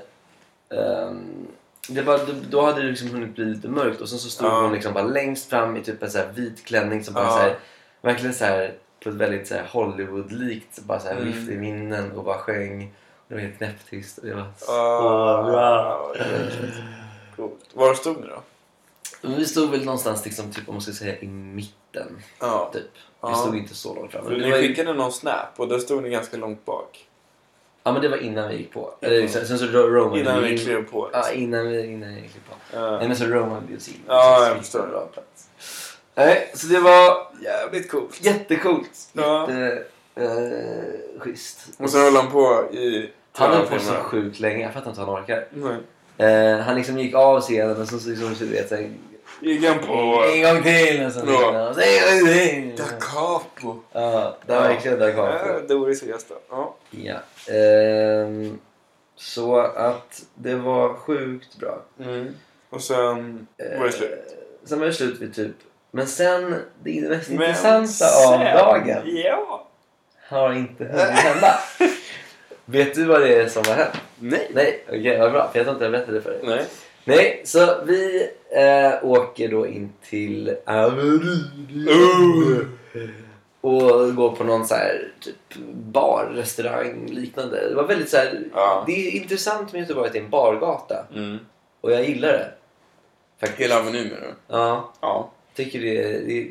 Speaker 2: ehm, det var, då- då hade det liksom hunnit bli lite mörkt och sen så stod
Speaker 1: Ja.
Speaker 2: hon liksom bara längst fram i typ en så här vit klänning som bara
Speaker 1: Ja.
Speaker 2: så här, verkligen så här på ett väldigt så här Hollywood-likt så bara så här
Speaker 1: Mm.
Speaker 2: vift i vinden och bara sjöng. Och det var helt knäpptyst och det var så
Speaker 1: Ah,
Speaker 2: bra.
Speaker 1: det är riktigt Coolt. Var stod ni då?
Speaker 2: Men Vi stod väl någonstans liksom typ om man ska säga i mitten
Speaker 1: Ja.
Speaker 2: typ. Vi
Speaker 1: Ja.
Speaker 2: stod inte så långt fram. Men
Speaker 1: Ni
Speaker 2: det var ju-
Speaker 1: skickade någon snap och där stod ni ganska långt bak.
Speaker 2: Ja men det var innan vi gick på. Eller, sen, sen så ro- romade
Speaker 1: Innan vi
Speaker 2: in-
Speaker 1: klev på.
Speaker 2: Ja, innan vi, innan vi gick på.
Speaker 1: Ja.
Speaker 2: Nej men så romade vi oss in.
Speaker 1: Ja, jag
Speaker 2: Så-
Speaker 1: förstår.
Speaker 2: bra plats. Nej, så det var
Speaker 1: Jävligt coolt.
Speaker 2: jättecoolt.
Speaker 1: Ja.
Speaker 2: Jätte, eh, schysst.
Speaker 1: Och sen höll han på i...
Speaker 2: Han höll på så sjukt länge. Jag fattar inte hur han orkar.
Speaker 1: Nej.
Speaker 2: Eh, han liksom gick av scenen och så så liksom, så du vet såhär...
Speaker 1: Gick han på...
Speaker 2: En gång till! Och sen,
Speaker 1: Ja.
Speaker 2: ja.
Speaker 1: Da Capo.
Speaker 2: Ja, det var verkligen där kakan.
Speaker 1: Ja, Doris och Gösta. Ja.
Speaker 2: Ja. Ehm, så att det var sjukt bra.
Speaker 1: Mm. Och sen var det slut.
Speaker 2: Eh, Sen var det slut vid typ... Men sen, det mest
Speaker 1: Men
Speaker 2: intressanta av
Speaker 1: sen-
Speaker 2: dagen
Speaker 1: Ja.
Speaker 2: har inte hunnit hända. Vet du vad det är som har hänt?
Speaker 1: Nej.
Speaker 2: Nej, okej vad bra. För jag tror inte jag berättade det för dig.
Speaker 1: Nej.
Speaker 2: Nej, så vi eh, åker då in till Averyd.
Speaker 1: Oh.
Speaker 2: Och går på någon så här typ bar, restaurang, liknande. Det var väldigt så här,
Speaker 1: Ja.
Speaker 2: Det är intressant med Göteborg att det är en bargata.
Speaker 1: Mm.
Speaker 2: Och jag gillar det. Faktiskt.
Speaker 1: Hela Avenyn menar du?
Speaker 2: Ja.
Speaker 1: Ja.
Speaker 2: Tycker det är, det är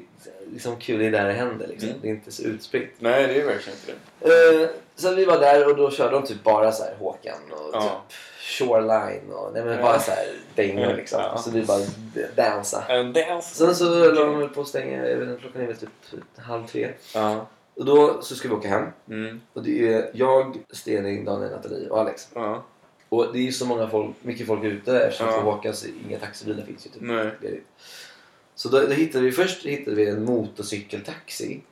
Speaker 2: liksom kul, det är där det händer liksom.
Speaker 1: Mm.
Speaker 2: Det är inte så utspritt.
Speaker 1: Nej, det är verkligen inte det.
Speaker 2: Eh, så vi var där och då körde de typ bara så här Håkan och
Speaker 1: Ja.
Speaker 2: typ Shoreline och nej, men
Speaker 1: Ja.
Speaker 2: bara så här dängor
Speaker 1: Ja.
Speaker 2: liksom.
Speaker 1: Ja.
Speaker 2: Så vi bara dansa.
Speaker 1: En dans.
Speaker 2: Sen så höll de väl på att stänga, jag vet inte, klockan är väl typ halv tre.
Speaker 1: Ja.
Speaker 2: Och då så ska vi åka hem.
Speaker 1: Mm.
Speaker 2: Och det är jag, Stening, Daniel, Nathalie och Alex.
Speaker 1: Ja.
Speaker 2: Och det är ju så många folk, mycket folk ute eftersom
Speaker 1: Ja.
Speaker 2: på Håkan så inga taxibilar finns ju typ.
Speaker 1: Nej.
Speaker 2: Ledigt. Så då, då hittade vi först hittade vi en motorcykeltaxi.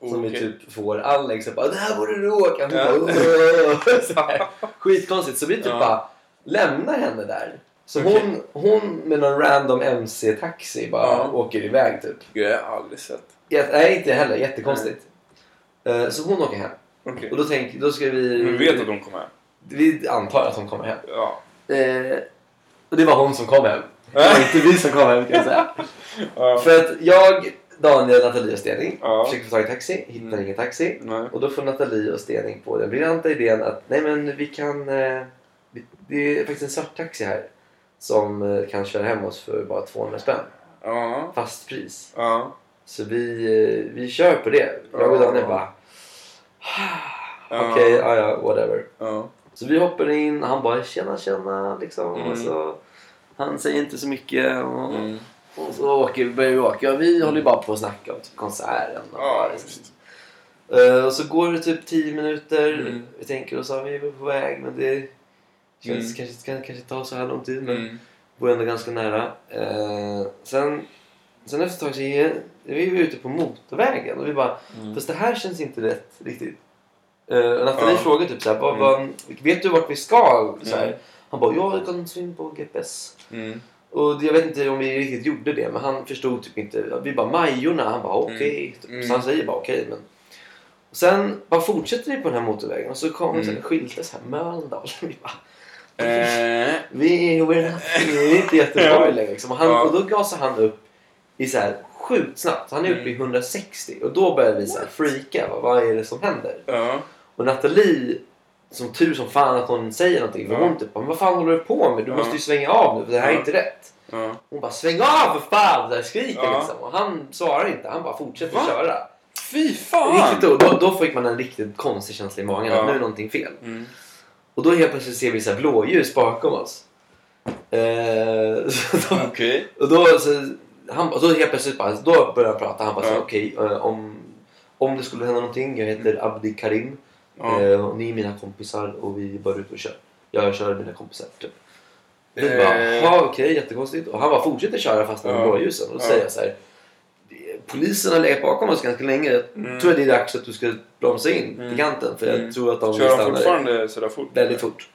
Speaker 2: Som vi
Speaker 1: Okej.
Speaker 2: typ får Alex att bara det här borde du åka. Hon
Speaker 1: Ja.
Speaker 2: bara, "Åh." så här, skitkonstigt. Så vi typ
Speaker 1: Ja.
Speaker 2: bara lämnar henne där. Så
Speaker 1: Okej.
Speaker 2: hon, hon med någon random MC-taxi bara
Speaker 1: Ja.
Speaker 2: åker iväg typ.
Speaker 1: Gud, jag har aldrig sett.
Speaker 2: Jät- nej inte jag heller, jättekonstigt. Eh, Så hon åker hem.
Speaker 1: Okej.
Speaker 2: Och då tänker då ska vi...
Speaker 1: Men vi vet att de kommer här.
Speaker 2: Vi antar att hon kommer hem.
Speaker 1: Mm. Ja.
Speaker 2: Eh, och det var hon som kom hem. Det var inte vi som kom hem kan jag säga.
Speaker 1: Ja.
Speaker 2: För att jag, Daniel, Nathalie och Stening
Speaker 1: Ja.
Speaker 2: försöker få tag i taxi, hittar
Speaker 1: Mm.
Speaker 2: ingen taxi.
Speaker 1: Nej.
Speaker 2: Och då får Nathalie och Stening på den briljanta idén att nej men vi kan... Eh, vi- det är faktiskt en svart taxi här som eh, kan köra hem oss för bara 200 spänn.
Speaker 1: Ja.
Speaker 2: Fast pris.
Speaker 1: Ja.
Speaker 2: Så vi, eh, vi kör på det. Jag och
Speaker 1: Ja.
Speaker 2: Daniel bara...
Speaker 1: Ja.
Speaker 2: Okej, ja ja, whatever.
Speaker 1: Ja.
Speaker 2: Så vi hoppar in och han bara tjena tjena liksom.
Speaker 1: Mm.
Speaker 2: Och så, han säger inte så mycket. Och,
Speaker 1: Mm.
Speaker 2: och så åker, börjar vi åka. Och vi håller ju bara på att snacka om typ, konserten. Och,
Speaker 1: Ja,
Speaker 2: bara,
Speaker 1: visst.
Speaker 2: Eh, och så går det typ 10 minuter.
Speaker 1: Mm.
Speaker 2: Vi tänker oss att vi är på väg men det känns,
Speaker 1: Mm.
Speaker 2: kanske, kan, kanske tar så här lång tid. Men
Speaker 1: Mm.
Speaker 2: bor ändå ganska nära. Eh, sen, sen efter ett tag så är vi är ute på motorvägen och vi bara
Speaker 1: Mm.
Speaker 2: Fast det här känns inte rätt riktigt. Uh, och Nathalie
Speaker 1: Ja. Mm.
Speaker 2: frågade typ såhär, vad, vad, vet du vart vi ska? Så här. Han bara, ja jag kan slå in på GPS.
Speaker 1: Mm.
Speaker 2: Och det- jag vet inte om vi riktigt gjorde det men han förstod typ inte. Vi bara, Majorna. Han bara, okej. Typ.
Speaker 1: Mm.
Speaker 2: Så han säger bara, okej men. Och sen bara fortsätter vi på den här motorvägen och så kommer
Speaker 1: Mm.
Speaker 2: mm. skyltar såhär, Mölndal. Vi bara,
Speaker 1: Eh,
Speaker 2: vi är we're not, vi är inte i Göteborg längre liksom. Och, han,
Speaker 1: Ja.
Speaker 2: och då gasar han upp i så här sjukt snabbt. Han är uppe i
Speaker 1: Mm.
Speaker 2: 160 och då börjar vi så här freaka. Vad, vad är det som händer?
Speaker 1: Ja.
Speaker 2: Och Nathalie, som tur som fan att hon säger någonting. För
Speaker 1: Ja.
Speaker 2: hon typ bara, "Men vad fan håller du på med? Du
Speaker 1: Ja.
Speaker 2: måste ju svänga av nu för det här är
Speaker 1: Ja.
Speaker 2: inte rätt.
Speaker 1: Ja.
Speaker 2: Hon bara, sväng av för fan! Så här skriker
Speaker 1: Ja.
Speaker 2: liksom. Och han svarar inte. Han bara fortsätter
Speaker 1: Va?
Speaker 2: köra.
Speaker 1: Fy fan!
Speaker 2: Riktigt, då, då, då fick man en riktigt konstig känsla i magen.
Speaker 1: Ja.
Speaker 2: Att nu är någonting fel.
Speaker 1: Mm.
Speaker 2: Och då helt plötsligt ser vi så här blåljus bakom oss. Eh, så då,
Speaker 1: Mm. Okej.
Speaker 2: och då, så, han, och då helt plötsligt bara, då börjar han prata. Han bara så
Speaker 1: Ja.
Speaker 2: okej eh, om, om det skulle hända någonting. Jag heter Abdi Karim.
Speaker 1: Ja.
Speaker 2: Eh, och ni är mina kompisar och vi är bara ute och kör. Jag kör mina kompisar typ. Vi
Speaker 1: Eh.
Speaker 2: bara jaha okej jättekonstigt. Och han bara fortsätter köra fast med
Speaker 1: Ja.
Speaker 2: blåljusen. Och då
Speaker 1: Ja.
Speaker 2: säger jag så här. Polisen har legat bakom oss ganska länge. Jag
Speaker 1: Mm.
Speaker 2: tror att det är dags att du ska bromsa in
Speaker 1: Mm.
Speaker 2: till kanten. För
Speaker 1: Mm.
Speaker 2: jag tror att de
Speaker 1: Kör han
Speaker 2: stannar
Speaker 1: fortfarande sådär fort?
Speaker 2: väldigt fort.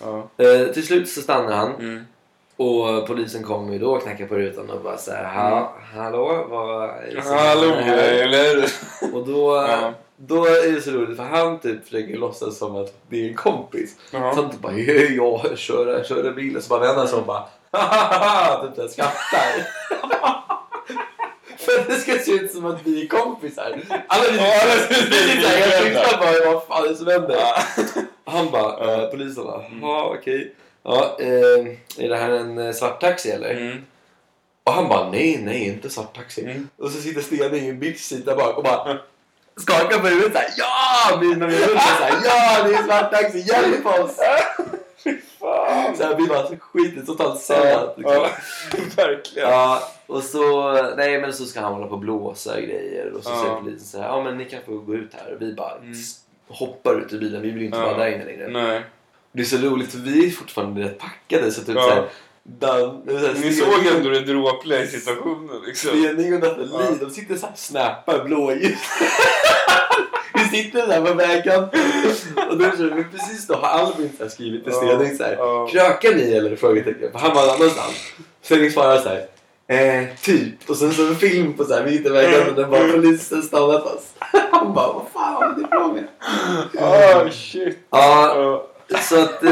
Speaker 1: Ja.
Speaker 2: Eh, till slut så stannar han
Speaker 1: Mm.
Speaker 2: och polisen kommer ju då och knackar på rutan och bara såhär ha, Hallå, vad är det som
Speaker 1: Hallå
Speaker 2: händer här?"
Speaker 1: eller?
Speaker 2: Och då,
Speaker 1: Ja.
Speaker 2: då är det så roligt för han typ försöker låtsas som att det är en kompis. Så
Speaker 1: Ja.
Speaker 2: han typ bara "Hej, jag kör, kör en bil och så bara vänder han sig om och bara Hahaha! Typ såhär skrattar. För det ska se ut som att vi är kompisar. Alla vi
Speaker 1: Ja, alla vi-
Speaker 2: vi sitter här helt tysta bara vad fan är det som händer?
Speaker 1: Ja.
Speaker 2: Han bara,
Speaker 1: Ja.
Speaker 2: eh, polisen bara, ja okej. Ja, eh, är det här en eh, svart taxi eller?
Speaker 1: Mm.
Speaker 2: Och han bara, nej nej inte svart taxi.
Speaker 1: Mm.
Speaker 2: Och så sitter Sten i en bitch sida bak och bara, skakar på huvudet såhär ja! Mina med munnen såhär ja det är svart taxi, hjälp oss!
Speaker 1: Fan!
Speaker 2: Såhär vi bara skiter totalt sällan. Liksom.
Speaker 1: Ja, verkligen.
Speaker 2: Ja, och så, nej men så ska han hålla på och blåsa och grejer och så
Speaker 1: Ja.
Speaker 2: säger polisen så här, ja men ni kan få gå ut här och vi bara
Speaker 1: Mm.
Speaker 2: s- hoppar ut ur bilen, vi vill ju inte
Speaker 1: Ja.
Speaker 2: vara där inne längre.
Speaker 1: Nej.
Speaker 2: Det är så roligt för vi är fortfarande rätt packade så typ
Speaker 1: Ja.
Speaker 2: såhär, Dan, så här,
Speaker 1: Ni såg ändå det dråpliga i situationen liksom.
Speaker 2: Stening och Nathalie, de sitter såhär och snappar blåljus. Vi sitter där på vägkanten och då är det precis då har Albin så här skrivit till Stening såhär
Speaker 1: Ja.
Speaker 2: Krökar ni eller? Frågetecken. För han var någon annanstans. Sen svarar så här. Eh, typ. Och sen så en film på så här. Vi hittar vägen och den bara polisen stannat oss. Han bara vad fan har du på med?
Speaker 1: Ah, shit.
Speaker 2: Ja,
Speaker 1: Ja.
Speaker 2: så att eh,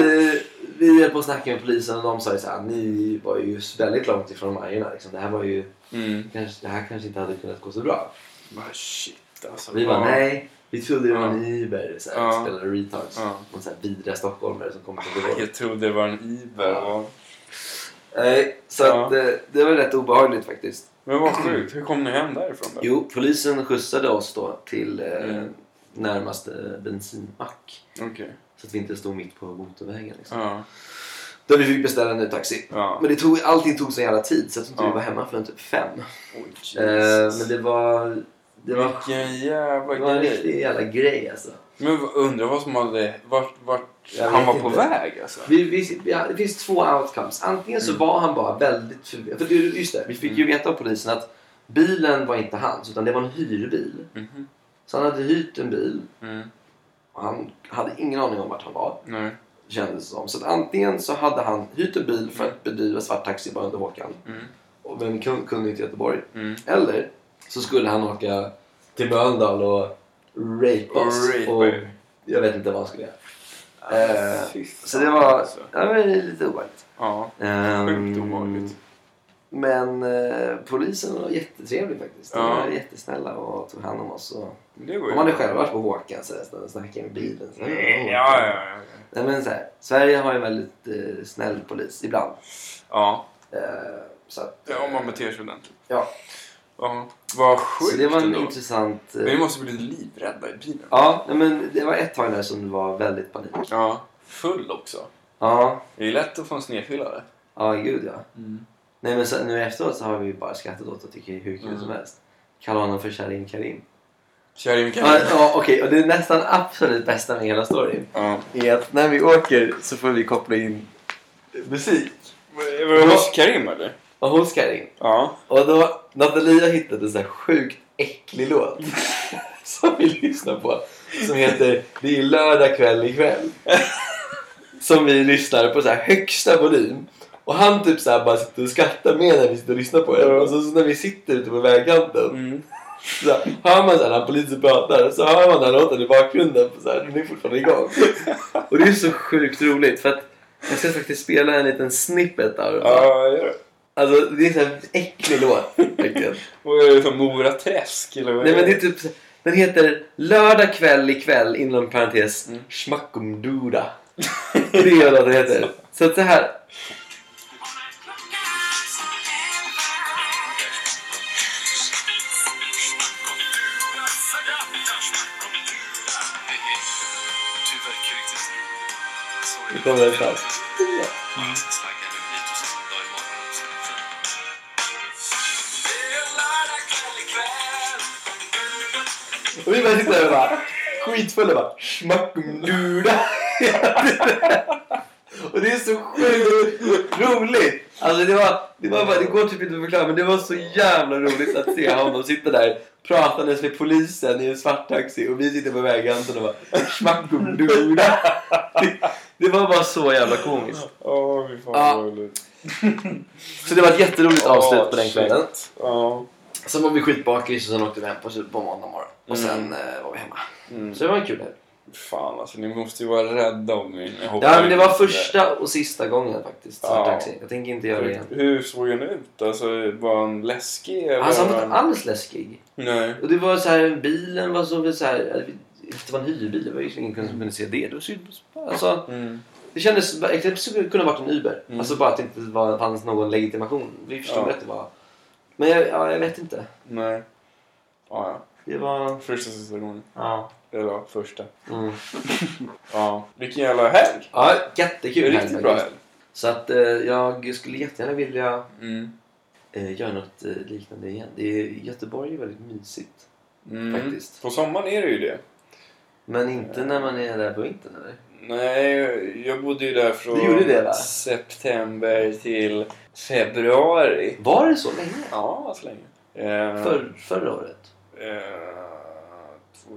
Speaker 2: vi höll på att snacka med polisen och de sa ju så här. Ni var ju väldigt långt ifrån vargarna liksom. Det här var ju
Speaker 1: Mm.
Speaker 2: kanske, det här kanske inte hade kunnat gå så bra.
Speaker 1: Ah, shit alltså.
Speaker 2: Så vi bara
Speaker 1: Ja.
Speaker 2: nej. Vi trodde det var
Speaker 1: Ja.
Speaker 2: en Uber. Så här,
Speaker 1: Ja.
Speaker 2: Spelade retards.
Speaker 1: Ja.
Speaker 2: Någon så här vidriga stockholmare som kom till
Speaker 1: Ah, Jag trodde det var en Iber.
Speaker 2: Ja.
Speaker 1: Ja.
Speaker 2: Nej, så
Speaker 1: Ja.
Speaker 2: att eh, det var rätt obehagligt faktiskt.
Speaker 1: Men vad sjukt. Hur kom ni hem därifrån då?
Speaker 2: Jo, polisen skjutsade oss då till eh,
Speaker 1: Mm.
Speaker 2: närmaste bensinmack.
Speaker 1: Okej.
Speaker 2: Så att vi inte stod mitt på motorvägen. Liksom.
Speaker 1: Ja.
Speaker 2: Där vi fick beställa en ny taxi.
Speaker 1: Ja.
Speaker 2: Men det tog, allting tog så jävla tid så jag tror inte
Speaker 1: Ja.
Speaker 2: vi var hemma förrän typ fem.
Speaker 1: Oj, Jesus.
Speaker 2: Eh, men det var... Det var,
Speaker 1: Vilken
Speaker 2: det
Speaker 1: jävla
Speaker 2: var en
Speaker 1: grej.
Speaker 2: riktig jävla grej alltså.
Speaker 1: Men v- undrar vad som hade... Vart, vart
Speaker 2: Jag
Speaker 1: han
Speaker 2: vet
Speaker 1: var på
Speaker 2: inte.
Speaker 1: väg alltså?
Speaker 2: Vi, vi, vi, det finns två outcomes. Antingen så
Speaker 1: Mm.
Speaker 2: var han bara väldigt förvirrad. För det- just det, vi fick ju veta av polisen att bilen var inte hans utan det var en hyrbil.
Speaker 1: Mhm.
Speaker 2: Så han hade hyrt en bil
Speaker 1: Mm.
Speaker 2: och han hade ingen aning om vart han var.
Speaker 1: Nej.
Speaker 2: kändes det som. Så att antingen så hade han hyrt en bil för att bedriva svarttaxi bara under Håkan.
Speaker 1: Mm.
Speaker 2: Och vem kun- kunde inte Göteborg.
Speaker 1: Mm.
Speaker 2: Eller så skulle han åka till Mölndal och rape oss.
Speaker 1: Och rape
Speaker 2: Och
Speaker 1: er.
Speaker 2: jag vet inte vad han skulle göra.
Speaker 1: Ah,
Speaker 2: Eh,
Speaker 1: fy
Speaker 2: Så
Speaker 1: fan,
Speaker 2: det var,
Speaker 1: alltså.
Speaker 2: ja, men det är lite obehagligt.
Speaker 1: Ja.
Speaker 2: Ehm,
Speaker 1: Sjukt obehagligt.
Speaker 2: Men eh, polisen var jättetrevlig faktiskt. De
Speaker 1: Ja.
Speaker 2: var jättesnälla och tog hand om oss. Och...
Speaker 1: Det var ju...
Speaker 2: De hade själva varit på Håkan så här, snackade med bilen. Så, här,
Speaker 1: Ja, ja, ja.
Speaker 2: Nej, men så här, Sverige har en väldigt eh, snäll polis ibland.
Speaker 1: Ja.
Speaker 2: Eh, så att,
Speaker 1: Ja, om man beter sig ordentligt.
Speaker 2: Ja.
Speaker 1: Ja. Vad
Speaker 2: så
Speaker 1: sjukt
Speaker 2: det var en
Speaker 1: ändå.
Speaker 2: intressant... eh,
Speaker 1: Men vi måste bli livrädda i bilen.
Speaker 2: Ja, nej, men det var ett tag där som det var väldigt panik.
Speaker 1: Ja. Full också.
Speaker 2: Ja,
Speaker 1: Det är lätt att få en snedfyllare.
Speaker 2: ja gud ja.
Speaker 1: Mm.
Speaker 2: Nej men så, nu efteråt så har vi ju bara skrattat åt och tycker det är hur kul
Speaker 1: Mm.
Speaker 2: som helst. Kallar honom för Karim Karim.
Speaker 1: Karim
Speaker 2: Ja,
Speaker 1: Karim.
Speaker 2: ja okej, och det är nästan absolut bästa med hela storyn.
Speaker 1: Ja.
Speaker 2: Är att när vi åker så får vi koppla in musik.
Speaker 1: Var det hos Karim eller?
Speaker 2: Och hos Karim.
Speaker 1: Ja.
Speaker 2: Och då, Natalia hittade en så här sjukt äcklig låt som vi lyssnar på. Som heter Det är lördag kväll ikväll. Som vi lyssnar på så här högsta volym. Och han typ så här bara sitter och skrattar med när vi sitter och lyssnar på den.
Speaker 1: Ja.
Speaker 2: Och så, så när vi sitter ute på vägkanten
Speaker 1: Mm.
Speaker 2: så här, hör man så här när polisen pratar så hör man den här låten i bakgrunden. Så här, den är fortfarande igång. Och det är så sjukt roligt för att jag ska faktiskt spela en liten snippet av den.
Speaker 1: Ja, gör det.
Speaker 2: Alltså det är en sån här äcklig låt verkligen.
Speaker 1: Och är det som Mora Träsk eller vad
Speaker 2: Nej men det är typ Den heter Lördag kväll ikväll inom parentes
Speaker 1: Mm.
Speaker 2: Schmackumduda. Det är vad den heter. Så att så här. Det kommer en sån här. Och vi bara sitter där och bara skitfulla bara Schmackumduda. Och det är så sjukt roligt! Alltså det var, det var bara, det går typ inte att förklara men det var så jävla roligt att se honom sitta där pratandes med polisen i en svart taxi och vi sitter på vägkanten och bara schmackumdula. Det, det var bara så jävla komiskt.
Speaker 1: Åh, fy fan
Speaker 2: Ja.
Speaker 1: vad roligt.
Speaker 2: Så det var ett jätteroligt avslut på den
Speaker 1: shit.
Speaker 2: kvällen.
Speaker 1: Ja.
Speaker 2: Sen var vi skitbakis och sen åkte vi hem på, på måndag morgon. Och sen eh, var vi hemma.
Speaker 1: Mm.
Speaker 2: Så det var en kul helg.
Speaker 1: Fan alltså, ni måste ju vara rädda om er. när ni hoppar
Speaker 2: Ja men det var
Speaker 1: in i
Speaker 2: första och sista gången faktiskt. Svart
Speaker 1: Ja.
Speaker 2: taxi. Jag tänker inte göra det igen.
Speaker 1: Hur, hur såg han ut? Alltså, var han läskig? Eller
Speaker 2: Alltså han
Speaker 1: var
Speaker 2: var inte alls läskig.
Speaker 1: Nej.
Speaker 2: Och det var så här, bilen var så, så här, det var en hyrbil, det var ju ingen som kunde se det. det var så, alltså,
Speaker 1: Mm.
Speaker 2: det kändes, det skulle kunna ha varit en Uber.
Speaker 1: Mm.
Speaker 2: Alltså bara att det inte var, fanns någon legitimation. Vi förstod
Speaker 1: Ja.
Speaker 2: att det var... Men jag, ja, jag vet inte.
Speaker 1: Nej. Ja, ja.
Speaker 2: det var...
Speaker 1: Första sista gången.
Speaker 2: Ja.
Speaker 1: Eller första.
Speaker 2: Mm.
Speaker 1: Ja. Vilken jävla helg!
Speaker 2: ja jättekul. här
Speaker 1: Riktigt bra
Speaker 2: faktiskt.
Speaker 1: helg.
Speaker 2: Så att eh, jag skulle jättegärna vilja
Speaker 1: Mm.
Speaker 2: eh, göra något eh, liknande igen. Det är, Göteborg är väldigt mysigt.
Speaker 1: Mm.
Speaker 2: Faktiskt.
Speaker 1: På sommaren är det ju det.
Speaker 2: Men inte när man är där på vintern eller?
Speaker 1: Nej, jag bodde ju där från
Speaker 2: Du gjorde det, va?
Speaker 1: september till februari.
Speaker 2: Var det så länge?
Speaker 1: Ja, så länge. Eh,
Speaker 2: För, förra året?
Speaker 1: Eh, två...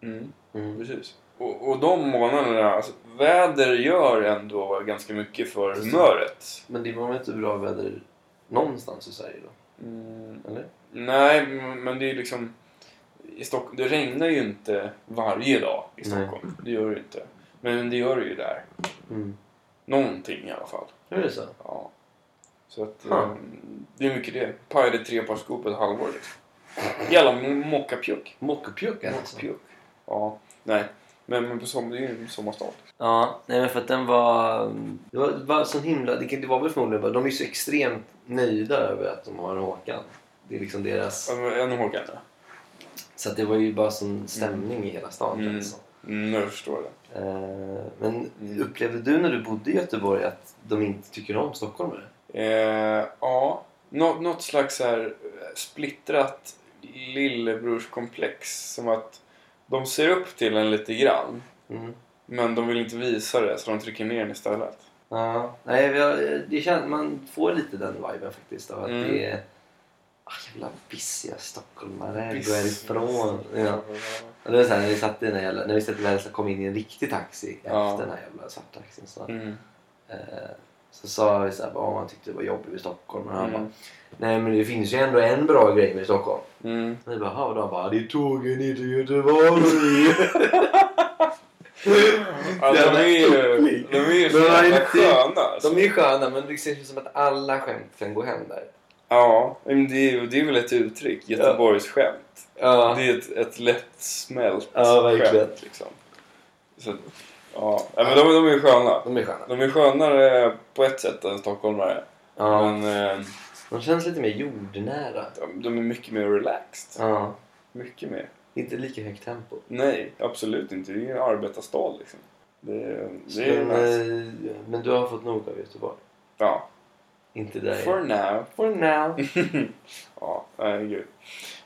Speaker 1: Mm,
Speaker 2: Mm.
Speaker 1: precis. Och, och de månaderna, alltså, väder gör ändå ganska mycket för humöret.
Speaker 2: Men det var väl inte bra väder någonstans i Sverige då?
Speaker 1: Mm.
Speaker 2: Eller?
Speaker 1: Nej, m- men det är ju liksom... I Stock... Det regnar ju inte varje dag i
Speaker 2: Nej.
Speaker 1: Stockholm. Det gör det ju inte. Men det gör det ju där.
Speaker 2: Mm.
Speaker 1: Någonting i alla fall.
Speaker 2: Är det så?
Speaker 1: Ja. Så att...
Speaker 2: Huh.
Speaker 1: eh, Det är mycket det. Pajade tre par skor på ett halvår liksom. Jävla mockapjuck.
Speaker 2: Mockapjucken alltså?
Speaker 1: Mockapjuck. Ja. Nej. Men, men på sommar, det är ju en sommarstad.
Speaker 2: Ja, nej men för att den var... mm. Det var, det var sån himla... Det, kan- det var väl förmodligen bara... De är ju så extremt nöjda över att de har Håkan. Det är liksom deras...
Speaker 1: Ännu Håkan ja.
Speaker 2: Så att det var ju bara sån stämning i hela stan
Speaker 1: Mm.
Speaker 2: kändes det som.
Speaker 1: Mm, jag förstår det.
Speaker 2: Eh, Men
Speaker 1: Mm.
Speaker 2: upplevde du när du bodde i Göteborg att de inte tycker om stockholmare?
Speaker 1: Eh, ja. Nå- något slags så här eh, splittrat lillebrorskomplex. Som att de ser upp till en lite grann.
Speaker 2: Mm.
Speaker 1: Men de vill inte visa det så de trycker ner en istället.
Speaker 2: Ja, nej, vi har, eh, det känns, man får lite den viben faktiskt av att
Speaker 1: Mm.
Speaker 2: det är ah, jävla bissiga stockholmare, gå
Speaker 1: Business.
Speaker 2: härifrån. Ja. Och det var så här, när vi satt i den här jävla, när vi satt i den här, kom in i en riktig taxi
Speaker 1: Ja.
Speaker 2: efter den här jävla svarttaxin så,
Speaker 1: Mm.
Speaker 2: eh, så sa vi så här, vad man tyckte det var jobbigt med Stockholm och han bara,
Speaker 1: Mm.
Speaker 2: nej men det finns ju ändå en bra grej med Stockholm.
Speaker 1: Mm.
Speaker 2: Och vi bara, "Jaha", och då han bara, det är tågen ner till Göteborg.
Speaker 1: Ja, Alltså, de är ju, de är ju så
Speaker 2: Men vad är
Speaker 1: jävla
Speaker 2: det?
Speaker 1: sköna. Alltså.
Speaker 2: De är ju sköna men det känns ju som att alla skämt kan gå hem där.
Speaker 1: Ja, men det är, ju- det är väl ett uttryck. Göteborgsskämt.
Speaker 2: Ja.
Speaker 1: Det är ett, ett lättsmält
Speaker 2: Ja, verkligen.
Speaker 1: skämt liksom. Så, att- ja. ja, men de, de är ju sköna.
Speaker 2: De är sköna.
Speaker 1: De är skönare på ett sätt än stockholmare.
Speaker 2: Ja.
Speaker 1: Men eh,
Speaker 2: De känns lite mer jordnära.
Speaker 1: de, de är mycket mer relaxed.
Speaker 2: Ja.
Speaker 1: Mycket mer.
Speaker 2: Inte lika högt tempo.
Speaker 1: Nej, absolut inte. Det är ju en arbetarstad liksom. Det,
Speaker 2: Så,
Speaker 1: det är
Speaker 2: men,
Speaker 1: nice.
Speaker 2: eh, men du har fått nog av Göteborg.
Speaker 1: Ja,
Speaker 2: Inte där.
Speaker 1: for now.
Speaker 2: For now.
Speaker 1: Ja, nej gud.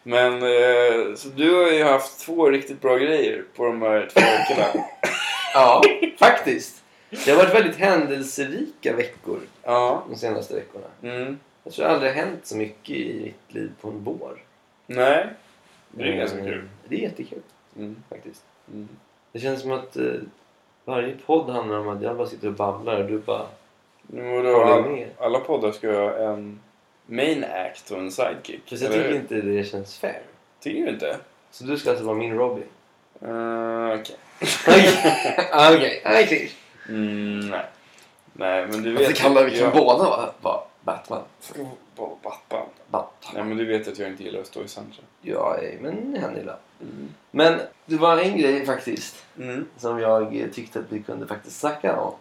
Speaker 1: Men eh, så du har ju haft två riktigt bra grejer på de här två veckorna.
Speaker 2: ja, faktiskt. Det har varit väldigt händelserika veckor
Speaker 1: Ja.
Speaker 2: de senaste veckorna.
Speaker 1: Mm.
Speaker 2: Jag tror aldrig det har hänt så mycket i mitt liv på en vår.
Speaker 1: Nej. Det är ganska
Speaker 2: Eh,
Speaker 1: kul.
Speaker 2: Det är jättekul
Speaker 1: Mm.
Speaker 2: faktiskt.
Speaker 1: Mm.
Speaker 2: Det känns som att eh, varje podd handlar om att jag bara sitter och babblar och du bara
Speaker 1: Nu och då,
Speaker 2: håller
Speaker 1: alla,
Speaker 2: med.
Speaker 1: alla poddar ska ju ha en main act och en sidekick.
Speaker 2: Fast jag
Speaker 1: eller
Speaker 2: tycker
Speaker 1: hur?
Speaker 2: inte det känns fair.
Speaker 1: tycker du inte?
Speaker 2: Så du ska alltså vara min Robin?
Speaker 1: Uh, Okej.
Speaker 2: Okej, okej.
Speaker 1: Mm, nej. Nej, men du vet...
Speaker 2: Varför kallar vi
Speaker 1: jag-
Speaker 2: kan båda vara vara Batman?
Speaker 1: Ska vara bara Batman.
Speaker 2: Batman.
Speaker 1: Nej, men du vet att jag inte gillar att stå i centrum.
Speaker 2: Ja, eh, men det händer ibland.
Speaker 1: Mm.
Speaker 2: Men det var en grej faktiskt
Speaker 1: Mm.
Speaker 2: som jag eh, tyckte att vi kunde faktiskt snacka om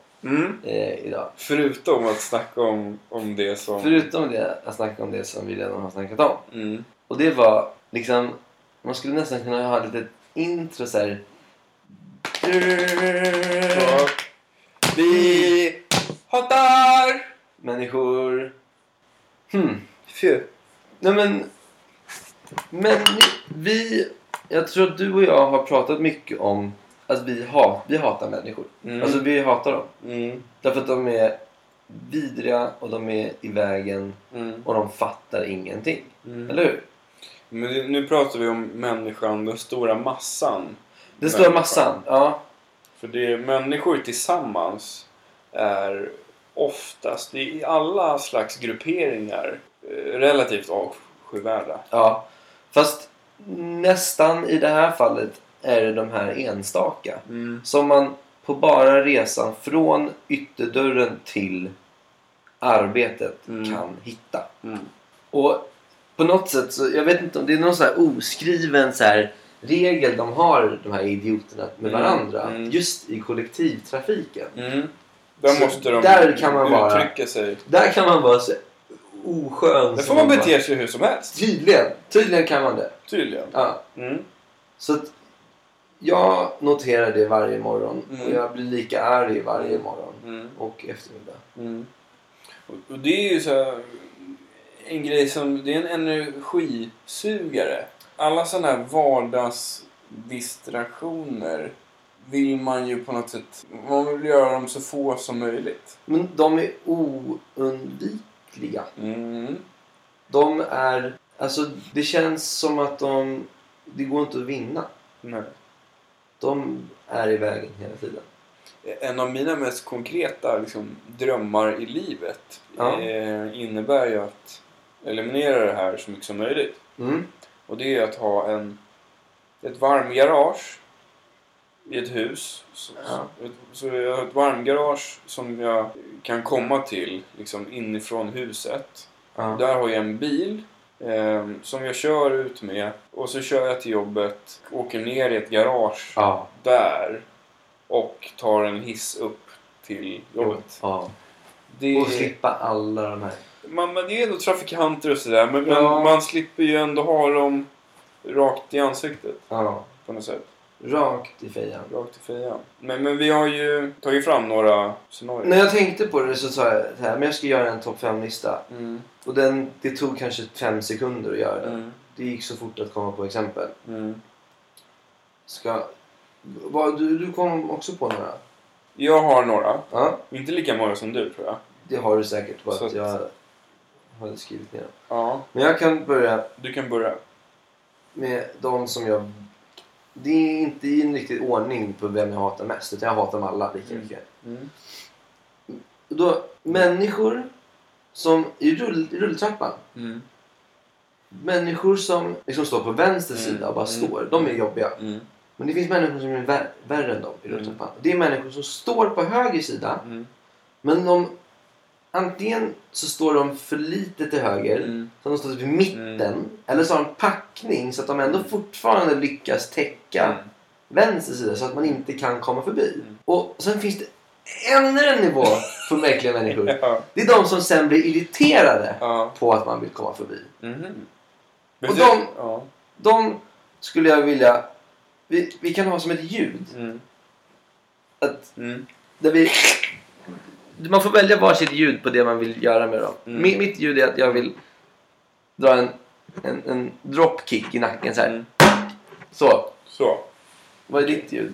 Speaker 2: eh, idag.
Speaker 1: Förutom att snacka om, om det som...
Speaker 2: Förutom det, att snacka om det som vi redan har snackat om.
Speaker 1: Mm.
Speaker 2: Och det var liksom, man skulle nästan kunna ha ett litet intro så här.
Speaker 1: Ja. Vi hatar...
Speaker 2: Människor. Hmm.
Speaker 1: Fy.
Speaker 2: Nej men... Men vi... Jag tror att du och jag har pratat mycket om att vi, hat, vi hatar människor.
Speaker 1: Mm.
Speaker 2: Alltså vi hatar dem.
Speaker 1: Mm.
Speaker 2: Därför att de är vidriga och de är i vägen
Speaker 1: Mm.
Speaker 2: och de fattar ingenting.
Speaker 1: Mm.
Speaker 2: Eller hur?
Speaker 1: Men nu- nu pratar vi om människan, den stora massan.
Speaker 2: Den stora
Speaker 1: Människor.
Speaker 2: massan. Ja.
Speaker 1: För det är människor tillsammans är oftast det är i alla slags grupperingar eh, relativt avskyvärda.
Speaker 2: ja. Fast nästan i det här fallet är det de här enstaka.
Speaker 1: Mm.
Speaker 2: Som man på bara resan från ytterdörren till arbetet
Speaker 1: Mm.
Speaker 2: kan hitta.
Speaker 1: Mm.
Speaker 2: Och på något sätt så, jag vet inte om det är någon sån här oskriven så här regel de har, de här idioterna, med
Speaker 1: Mm,
Speaker 2: varandra.
Speaker 1: mm.
Speaker 2: Just i kollektivtrafiken.
Speaker 1: Mm. Där
Speaker 2: Så
Speaker 1: måste de
Speaker 2: där kan man vara-
Speaker 1: uttrycka sig.
Speaker 2: Där kan man vara så
Speaker 1: Där
Speaker 2: oskön. som
Speaker 1: får man
Speaker 2: bara-
Speaker 1: bete sig hur som helst.
Speaker 2: Tydligen. Tydligen kan man det.
Speaker 1: Tydligen.
Speaker 2: Ja.
Speaker 1: Mm.
Speaker 2: Så att jag noterar det varje morgon.
Speaker 1: Mm.
Speaker 2: Och jag blir lika arg varje morgon.
Speaker 1: Mm.
Speaker 2: Och eftermiddag.
Speaker 1: Mm. Och- Och det är ju så här, en grej som... Det är en energisugare. Alla sådana här vardagsdistraktioner vill man ju på något sätt... Man vill göra dem så få som möjligt.
Speaker 2: Men de är oundvikliga.
Speaker 1: Mm.
Speaker 2: De är... Alltså det känns som att de... Det går inte att vinna.
Speaker 1: Nej.
Speaker 2: De är i vägen hela tiden.
Speaker 1: En av mina mest konkreta liksom, drömmar i livet
Speaker 2: Ja.
Speaker 1: eh, innebär ju att eliminera det här så mycket som möjligt.
Speaker 2: Mm.
Speaker 1: Och det är att ha en, ett varmgarage i ett hus. Så,
Speaker 2: Ja.
Speaker 1: så- ett, så jag har ett varmgarage som jag kan komma till liksom, inifrån huset.
Speaker 2: Ja.
Speaker 1: Där har jag en bil eh, som jag kör ut med och så kör jag till jobbet, åker ner i ett garage
Speaker 2: Ja.
Speaker 1: där och tar en hiss upp till jobbet.
Speaker 2: ja.
Speaker 1: Det
Speaker 2: Och
Speaker 1: är,
Speaker 2: slippa alla de här.
Speaker 1: man, men det är ändå trafikanter och sådär men,
Speaker 2: Ja.
Speaker 1: men man slipper ju ändå ha dem rakt i ansiktet
Speaker 2: Ja.
Speaker 1: på något sätt.
Speaker 2: Rakt i fejan.
Speaker 1: Rakt i fejan. Men, men vi har ju tagit fram några scenarier.
Speaker 2: När jag tänkte på det så sa jag så här, men jag ska göra en topp 5-lista.
Speaker 1: Mm,
Speaker 2: Och den, det tog kanske fem sekunder att göra den.
Speaker 1: mm,
Speaker 2: Det gick så fort att komma på exempel.
Speaker 1: mm.
Speaker 2: Ska... Vad, du, du kom också på några?
Speaker 1: Jag har några.
Speaker 2: Ja,
Speaker 1: Inte lika många som du tror jag.
Speaker 2: det har du säkert. Bara
Speaker 1: Så
Speaker 2: att
Speaker 1: att-
Speaker 2: jag hade skrivit ner dem.
Speaker 1: Ja.
Speaker 2: Men jag kan börja
Speaker 1: Du kan börja.
Speaker 2: med de som jag... Det är inte i en riktig ordning på vem jag hatar mest. Utan jag hatar dem alla lika
Speaker 1: Mm.
Speaker 2: mycket.
Speaker 1: Mm.
Speaker 2: Och Då, människor som... I, rull, i rulltrappan.
Speaker 1: Mm.
Speaker 2: Människor som liksom står på vänster
Speaker 1: Mm.
Speaker 2: sida och bara
Speaker 1: Mm.
Speaker 2: står. De är jobbiga.
Speaker 1: Mm.
Speaker 2: Men det finns människor som är vär- värre än dem i rulltrappan. Det är människor som står på höger sida.
Speaker 1: Mm.
Speaker 2: Men de... Antingen så står de för lite till höger.
Speaker 1: Mm.
Speaker 2: Så de står typ i mitten.
Speaker 1: Mm.
Speaker 2: Eller så har de packning så att de ändå fortfarande lyckas täcka vänster sida så att man inte kan komma förbi.
Speaker 1: Mm.
Speaker 2: Och sen finns det ännu en nivå på de äckliga människor.
Speaker 1: Ja.
Speaker 2: Det är de som sen blir irriterade
Speaker 1: Ja.
Speaker 2: på att man vill komma förbi.
Speaker 1: Mhm.
Speaker 2: Och
Speaker 1: Betyder-
Speaker 2: de-
Speaker 1: Ja.
Speaker 2: De skulle jag vilja... Vi, vi kan ha som ett ljud.
Speaker 1: Mm.
Speaker 2: Att
Speaker 1: Mm.
Speaker 2: där vi, man får välja varsitt ljud på det man vill göra med dem.
Speaker 1: Mm.
Speaker 2: Mi- mitt ljud är att jag vill dra en, en, en dropkick i nacken så här.
Speaker 1: Mm.
Speaker 2: Så.
Speaker 1: Så.
Speaker 2: Vad är ditt ljud?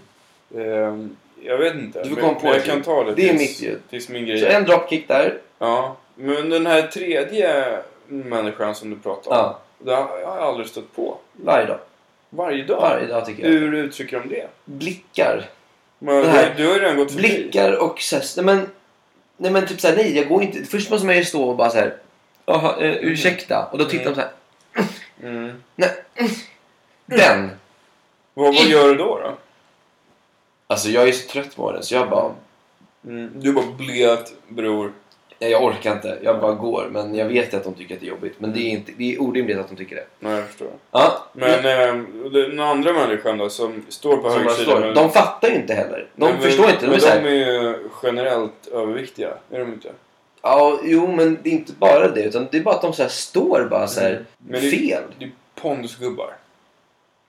Speaker 1: Ehm, jag vet inte.
Speaker 2: Du får
Speaker 1: men-
Speaker 2: komma på
Speaker 1: men jag
Speaker 2: ett
Speaker 1: kan
Speaker 2: ljud.
Speaker 1: ta det,
Speaker 2: Det är
Speaker 1: tills,
Speaker 2: mitt ljud.
Speaker 1: Tills min grej.
Speaker 2: Så en dropkick där.
Speaker 1: Ja. Men den här tredje människan som du pratade om.
Speaker 2: Ja.
Speaker 1: Det har jag aldrig stött på.
Speaker 2: Varje dag.
Speaker 1: Varje dag.
Speaker 2: Varje dag tycker jag.
Speaker 1: Hur uttrycker de det?
Speaker 2: Blickar.
Speaker 1: Men
Speaker 2: Det
Speaker 1: du,
Speaker 2: här-
Speaker 1: du har ju redan
Speaker 2: typ.
Speaker 1: gått förbi.
Speaker 2: Blickar och så här, nej men... Nej men typ såhär, nej jag går inte. Först måste man ju stå och bara såhär. Jaha, eh, ursäkta. Och då tittar de såhär.
Speaker 1: Mm.
Speaker 2: Den!
Speaker 1: Vad, vad gör du då? då?
Speaker 2: Alltså jag är så trött på den så jag bara.
Speaker 1: Mm. Du bara blöt bror.
Speaker 2: Nej jag orkar inte. Jag bara går. Men jag vet att de tycker att det är jobbigt. Men det är, inte, det är orimligt att de tycker det.
Speaker 1: Nej, jag förstår.
Speaker 2: Ja.
Speaker 1: Men ehm, och den andra människan då som står på
Speaker 2: Mm. som
Speaker 1: höger
Speaker 2: bara
Speaker 1: sida.
Speaker 2: står.
Speaker 1: men-
Speaker 2: De fattar ju inte heller. De
Speaker 1: Nej, men-
Speaker 2: förstår inte. De är
Speaker 1: men
Speaker 2: så här,
Speaker 1: de är ju generellt överviktiga. Är de inte?
Speaker 2: Ja, jo men det är inte bara det. Utan det är bara att de så här står bara så här
Speaker 1: Mm. Men det-
Speaker 2: fel.
Speaker 1: Det är pondusgubbar.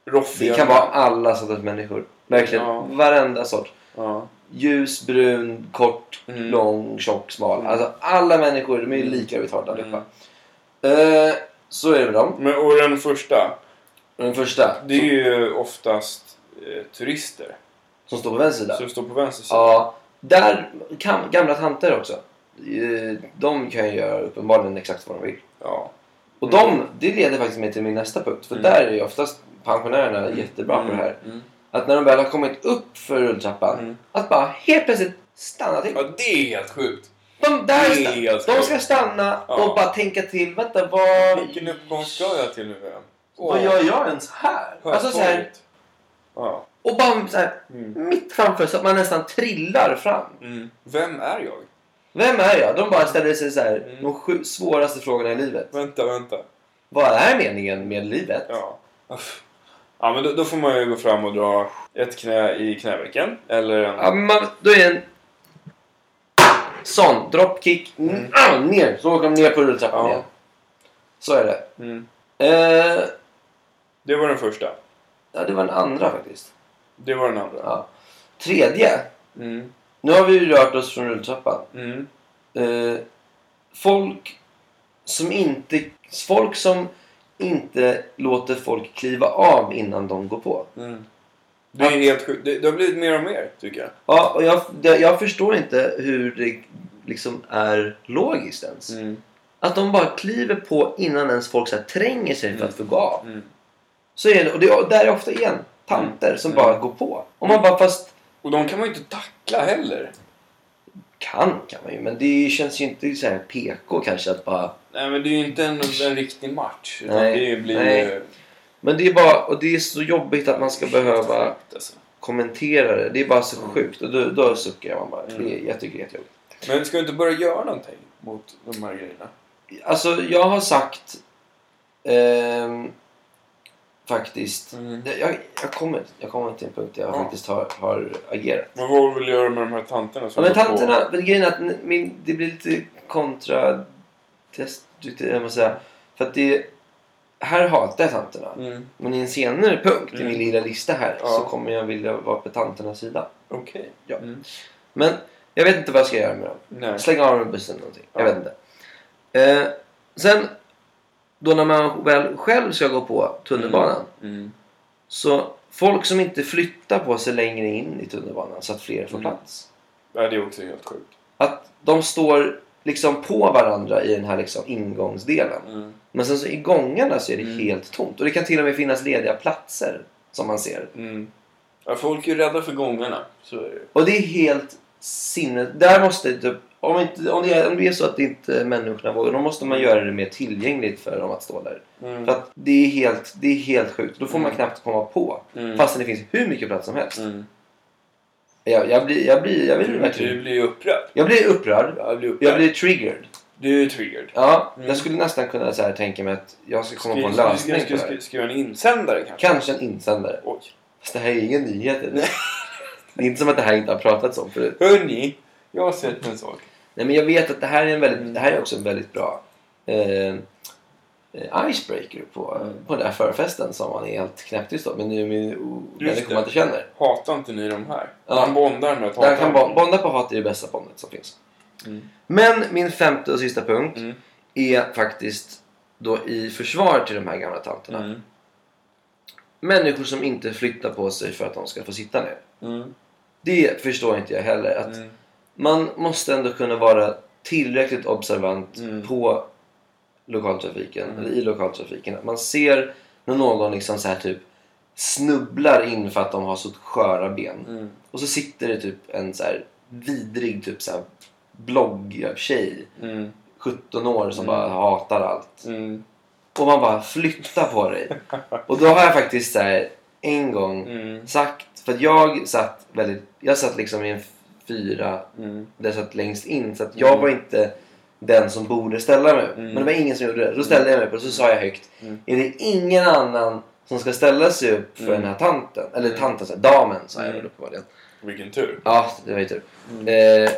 Speaker 1: Roffiga.
Speaker 2: Det kan vara alla sorters människor. Verkligen.
Speaker 1: Ja.
Speaker 2: Varenda sort.
Speaker 1: Ja.
Speaker 2: Ljus, brun, kort,
Speaker 1: Mm.
Speaker 2: lång, tjock, smal.
Speaker 1: Mm.
Speaker 2: Alltså alla människor, de är ju
Speaker 1: Mm.
Speaker 2: lika retarda
Speaker 1: Mm.
Speaker 2: allihopa. Eh, så är det med dem.
Speaker 1: Men, och den första.
Speaker 2: Och Den första,
Speaker 1: Det är ju oftast eh, turister.
Speaker 2: som står på vänster sida.
Speaker 1: Som står på vänster sida.
Speaker 2: Ja. Där, kan, gamla tanter också. Eh, de kan ju göra uppenbarligen exakt vad de vill.
Speaker 1: Ja.
Speaker 2: Och
Speaker 1: Mm.
Speaker 2: de, det leder faktiskt mig till min nästa punkt. För
Speaker 1: Mm.
Speaker 2: där är ju oftast pensionärerna jättebra på det här.
Speaker 1: Mm.
Speaker 2: Att när de väl har kommit upp för rulltrappan,
Speaker 1: Mm.
Speaker 2: att bara helt plötsligt stanna till.
Speaker 1: Ja, det är helt sjukt.
Speaker 2: De där
Speaker 1: Det är helt
Speaker 2: sta- de ska
Speaker 1: sjukt.
Speaker 2: stanna
Speaker 1: Ja.
Speaker 2: och bara tänka till. Vänta, vad...
Speaker 1: Vilken uppgång ska jag till nu igen?
Speaker 2: Vad gör jag ens här? Alltså så här,
Speaker 1: Ja.
Speaker 2: och bara så här,
Speaker 1: Mm.
Speaker 2: mitt framför så att man nästan trillar fram.
Speaker 1: Mm. Vem är jag?
Speaker 2: Vem är jag? De bara ställer sig så här,
Speaker 1: Mm.
Speaker 2: de sju svåraste frågorna i livet.
Speaker 1: Vänta, vänta.
Speaker 2: Vad är meningen med livet?
Speaker 1: Ja. Uff. Ja, men då, då får man ju gå fram och dra ett knä i knävecken. Eller en...
Speaker 2: Ja, men man, då är det en Sån, dropkick, n- ah, ner. Så åker de ner på rulltrappan
Speaker 1: Mm. Ja.
Speaker 2: igen. Så är det.
Speaker 1: Mm.
Speaker 2: Eh,
Speaker 1: Det var den första.
Speaker 2: ja, det var den andra faktiskt.
Speaker 1: Det var den andra.
Speaker 2: Ja. Tredje.
Speaker 1: Mm.
Speaker 2: Nu har vi ju rört oss från rulltrappan.
Speaker 1: Mm.
Speaker 2: Eh, folk som inte... Folk som inte låter folk kliva av innan de går på.
Speaker 1: Mm. Det är helt sjukt. Det, det har blivit mer och mer, tycker jag.
Speaker 2: Ja, och jag, det, jag förstår inte hur det liksom är logiskt ens.
Speaker 1: Mm.
Speaker 2: Att de bara kliver på innan ens folk så här tränger sig för att få gå av.
Speaker 1: Mm.
Speaker 2: Så är det, och det, och där är ofta igen tanter som
Speaker 1: Mm.
Speaker 2: bara går på. Och man bara, fast
Speaker 1: Och de kan man ju inte tackla heller.
Speaker 2: kan kan man ju, men det känns ju inte så här PK kanske att bara...
Speaker 1: Nej, men det är ju inte en, en riktig match. Utan
Speaker 2: Nej,
Speaker 1: det blir
Speaker 2: nej.
Speaker 1: ju...
Speaker 2: Men det är bara, och det är så jobbigt att man ska behöva
Speaker 1: Sjukt, alltså.
Speaker 2: kommentera det. Det är bara så sjukt. Och då, då suckar man bara. Det är, jag tycker det är jättejobbigt.
Speaker 1: Men ska du inte börja göra någonting mot de här grejerna?
Speaker 2: Alltså, jag har sagt... ehm, faktiskt...
Speaker 1: Mm.
Speaker 2: Jag, jag, jag, kommer, jag kommer till en punkt där jag
Speaker 1: Ja.
Speaker 2: faktiskt har, har agerat. Alltså,
Speaker 1: Men vad vill du göra med de här tanterna?
Speaker 2: Ja,
Speaker 1: som
Speaker 2: men
Speaker 1: går på-
Speaker 2: tanterna, men grejen är att n- min, det blir lite kontradestruktivt, eller vad man säger. För att det... Här hatar jag tanterna.
Speaker 1: Mm.
Speaker 2: Men i en senare punkt i
Speaker 1: Mm.
Speaker 2: min lilla lista här
Speaker 1: Ja.
Speaker 2: så kommer jag vilja vara på tanternas sida.
Speaker 1: Okej.
Speaker 2: Ja.
Speaker 1: Mm.
Speaker 2: Men jag vet inte vad jag ska göra med dem.
Speaker 1: Nej.
Speaker 2: Slänga av dem i bussen eller någonting. Jag
Speaker 1: Ja.
Speaker 2: vet inte. Eh, sen, då när man väl själv ska gå på tunnelbanan.
Speaker 1: Mm.
Speaker 2: Så folk som inte flyttar på sig längre in i tunnelbanan så att fler får
Speaker 1: Mm.
Speaker 2: plats.
Speaker 1: Ja, det är också helt sjukt.
Speaker 2: Att de står liksom på varandra i den här liksom ingångsdelen.
Speaker 1: Mm.
Speaker 2: Men sen så i gångarna så är det
Speaker 1: Mm.
Speaker 2: helt tomt. Och det kan till och med finnas lediga platser som man ser.
Speaker 1: Mm. Ja, folk är ju rädda för gångarna. Så är det ju.
Speaker 2: Och det är helt sinnet. Där måste typ, om, inte, om, det är, om det är så att inte människorna vågar, då måste man göra det mer tillgängligt för dem att stå där. För
Speaker 1: Mm.
Speaker 2: att det är helt, det är helt sjukt. Då får man
Speaker 1: Mm.
Speaker 2: knappt komma på.
Speaker 1: Mm.
Speaker 2: Fastän det finns hur mycket plats som helst.
Speaker 1: Mm.
Speaker 2: Jag, jag blir, jag blir, jag blir
Speaker 1: Du,
Speaker 2: verkligen...
Speaker 1: du blir ju upprörd.
Speaker 2: Jag blir upprörd.
Speaker 1: Jag blir upprörd.
Speaker 2: Jag blir triggered.
Speaker 1: Du är triggered.
Speaker 2: Ja,
Speaker 1: Mm.
Speaker 2: jag skulle nästan kunna så här tänka mig att jag ska komma på en
Speaker 1: Ska- ska-
Speaker 2: lösning
Speaker 1: ska-
Speaker 2: på det här.
Speaker 1: ska- Skriva en insändare kanske?
Speaker 2: Kanske en insändare.
Speaker 1: Oj.
Speaker 2: Fast det här är ingen nyhet. eller? Det är inte som att det här inte har pratats om förut.
Speaker 1: Hörni, jag har sett en sak.
Speaker 2: Nej, men jag vet att det här är, en väldigt,
Speaker 1: Mm.
Speaker 2: det här är också en väldigt bra eh, eh, icebreaker på,
Speaker 1: Mm.
Speaker 2: på den där förfesten som man är helt knäpptyst av. Men nu med o-
Speaker 1: det.
Speaker 2: människor man inte känner.
Speaker 1: Hatar inte ni de här?
Speaker 2: Ja.
Speaker 1: Man bondar med att
Speaker 2: Där
Speaker 1: hata
Speaker 2: kan
Speaker 1: dem.
Speaker 2: bo- bonda på hat är det bästa bondet som finns.
Speaker 1: Mm.
Speaker 2: Men min femte och sista punkt
Speaker 1: Mm.
Speaker 2: är faktiskt då i försvar till de här gamla tanterna.
Speaker 1: Mm.
Speaker 2: Människor som inte flyttar på sig för att de ska få sitta ner.
Speaker 1: Mm.
Speaker 2: Det förstår inte jag heller. Att
Speaker 1: Mm.
Speaker 2: Man måste ändå kunna vara tillräckligt observant
Speaker 1: Mm.
Speaker 2: på lokaltrafiken,
Speaker 1: Mm.
Speaker 2: eller i lokaltrafiken. Att man ser när någon liksom så här typ snubblar in för att de har så sköra ben.
Speaker 1: Mm.
Speaker 2: Och så sitter det typ en så här vidrig typ så här bloggtjej,
Speaker 1: Mm.
Speaker 2: 17 år, som
Speaker 1: Mm.
Speaker 2: bara hatar allt.
Speaker 1: Mm.
Speaker 2: Och man bara flytta på dig. Och då har jag faktiskt så här en gång
Speaker 1: Mm.
Speaker 2: sagt, för att jag satt väldigt, jag satt liksom i en fyra
Speaker 1: Mm.
Speaker 2: där jag satt längst in. Så att jag var inte den som borde ställa mig.
Speaker 1: Mm.
Speaker 2: Men det var ingen som gjorde det. Då ställde jag mig upp och så sa jag högt.
Speaker 1: Mm.
Speaker 2: Är det ingen annan som ska ställa sig upp för
Speaker 1: Mm.
Speaker 2: den här tanten? Eller
Speaker 1: Mm.
Speaker 2: tanten, så här, damen sa jag väl
Speaker 1: Mm.
Speaker 2: uppenbarligen.
Speaker 1: Vilken tur.
Speaker 2: Ja, det var ju tur. Eh,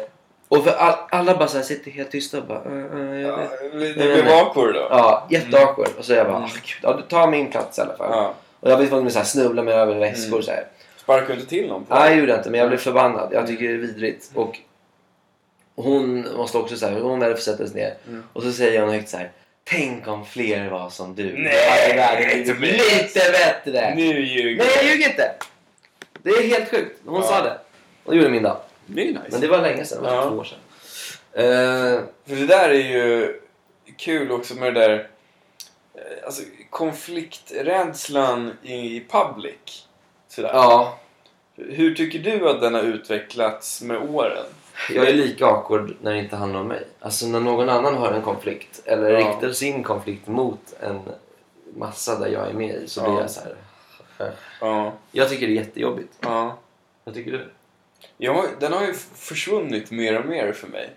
Speaker 2: och för all, alla bara så här sitter helt tysta och bara... Uh, uh, jag
Speaker 1: Ja,
Speaker 2: vet.
Speaker 1: det
Speaker 2: Nej,
Speaker 1: blir
Speaker 2: nej.
Speaker 1: bakor då.
Speaker 2: Ja, jätteawkward. Och så jag bara,
Speaker 1: Mm.
Speaker 2: "Ah, gud, ja, du tar min plats i alla fall.
Speaker 1: Ja.
Speaker 2: Och jag var tvungen att så här snubbla mig över väskor
Speaker 1: Mm.
Speaker 2: så här.
Speaker 1: Sparkar inte till någon på
Speaker 2: Nej, jag gjorde inte. Men jag blev förbannad. Jag tycker det är vidrigt. Och hon måste också så här, hon väl sättas ner.
Speaker 1: Mm.
Speaker 2: Och så säger hon högt så här. Tänk om fler var som du.
Speaker 1: Nej,
Speaker 2: Att världen är
Speaker 1: Tobias.
Speaker 2: lite bättre.
Speaker 1: Nu ljuger
Speaker 2: Nej, jag ljuger inte. Det är helt sjukt. Hon
Speaker 1: Ja.
Speaker 2: sa det. Och det gjorde min dag.
Speaker 1: Det är ju nice.
Speaker 2: Men det var länge sedan. Det var
Speaker 1: Ja.
Speaker 2: två år sedan. Eh,
Speaker 1: För det där är ju kul också med det där eh, alltså, konflikträdslan i public. Sådär.
Speaker 2: ja,
Speaker 1: Hur tycker du att den har utvecklats med åren?
Speaker 2: jag är lika awkward när det inte handlar om mig. Alltså när någon annan har en konflikt. Eller
Speaker 1: Ja.
Speaker 2: riktar sin konflikt mot en massa där jag är med i. Så
Speaker 1: Ja.
Speaker 2: blir jag så här.
Speaker 1: Ja.
Speaker 2: Jag tycker det är jättejobbigt.
Speaker 1: ja.
Speaker 2: Vad tycker du?
Speaker 1: Jag har, den har ju f- försvunnit mer och mer för mig.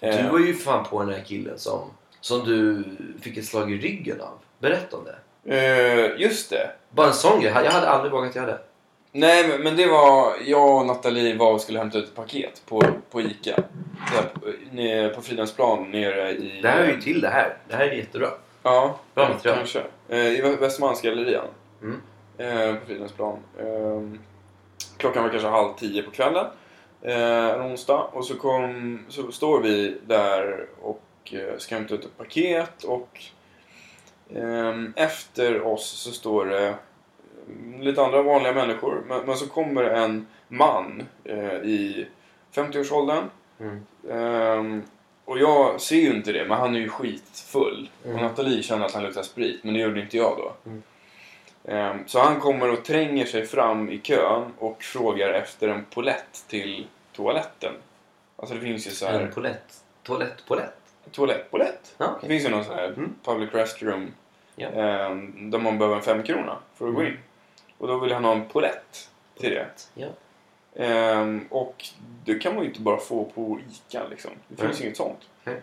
Speaker 1: Eh,
Speaker 2: Du var ju fan på den här killen som, som du fick ett slag i ryggen av. Berätta om det.
Speaker 1: eh, just det.
Speaker 2: Bara en sån grej. Jag hade aldrig vågat göra det.
Speaker 1: Nej, men, men det var... Jag och Nathalie var och skulle hämta ut ett paket på, på Ica. Där, på, eh, nere på Fridhemsplan nere i...
Speaker 2: Det här är ju till det här. Det här är jättebra.
Speaker 1: Ja,
Speaker 2: Bra,
Speaker 1: ja,
Speaker 2: tror jag.
Speaker 1: kanske. Eh, I Vä- Västermalmsgallerian.
Speaker 2: Mm.
Speaker 1: Eh, på Fridhemsplan. Eh, klockan var kanske halv tio på kvällen. Eh, en onsdag. Och så, kom, så står vi där och eh, ska hämta ut ett paket. Och ehm, efter oss så står det mm, lite andra vanliga människor. Men, men så kommer en man eh, i 50-årsåldern.
Speaker 2: Mm.
Speaker 1: Ehm, och jag ser ju inte det, men han är ju skitfull.
Speaker 2: Mm.
Speaker 1: Och Nathalie känner att han luktar sprit, men det gjorde inte jag då.
Speaker 2: Mm.
Speaker 1: Ehm, så han kommer och tränger sig fram i kön och frågar efter en polett till toaletten. Alltså det finns ju så här...
Speaker 2: En polett. Toalett, polett.
Speaker 1: Toalett, polett?
Speaker 2: Ja,
Speaker 1: Det
Speaker 2: okej.
Speaker 1: finns ju någon sån här
Speaker 2: Mm.
Speaker 1: public restroom
Speaker 2: Ja.
Speaker 1: ehm, där man behöver en femkrona för att gå
Speaker 2: Mm.
Speaker 1: in. Och då vill han ha en polett till det.
Speaker 2: Ja.
Speaker 1: Ehm, och det kan man ju inte bara få på ICA liksom. Det finns
Speaker 2: Nej.
Speaker 1: inget sånt.
Speaker 2: Nej.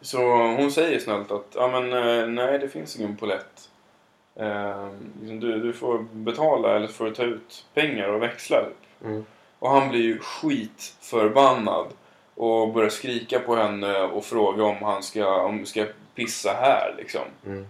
Speaker 1: Så hon säger snällt att ja men eh, nej det finns ingen polett. Ehm, liksom, du, du får betala eller får ta ut pengar och växla.
Speaker 2: Mm.
Speaker 1: Och han blir ju skitförbannad. Och börjar skrika på henne och fråga om han ska, om ska pissa här liksom.
Speaker 2: Mm.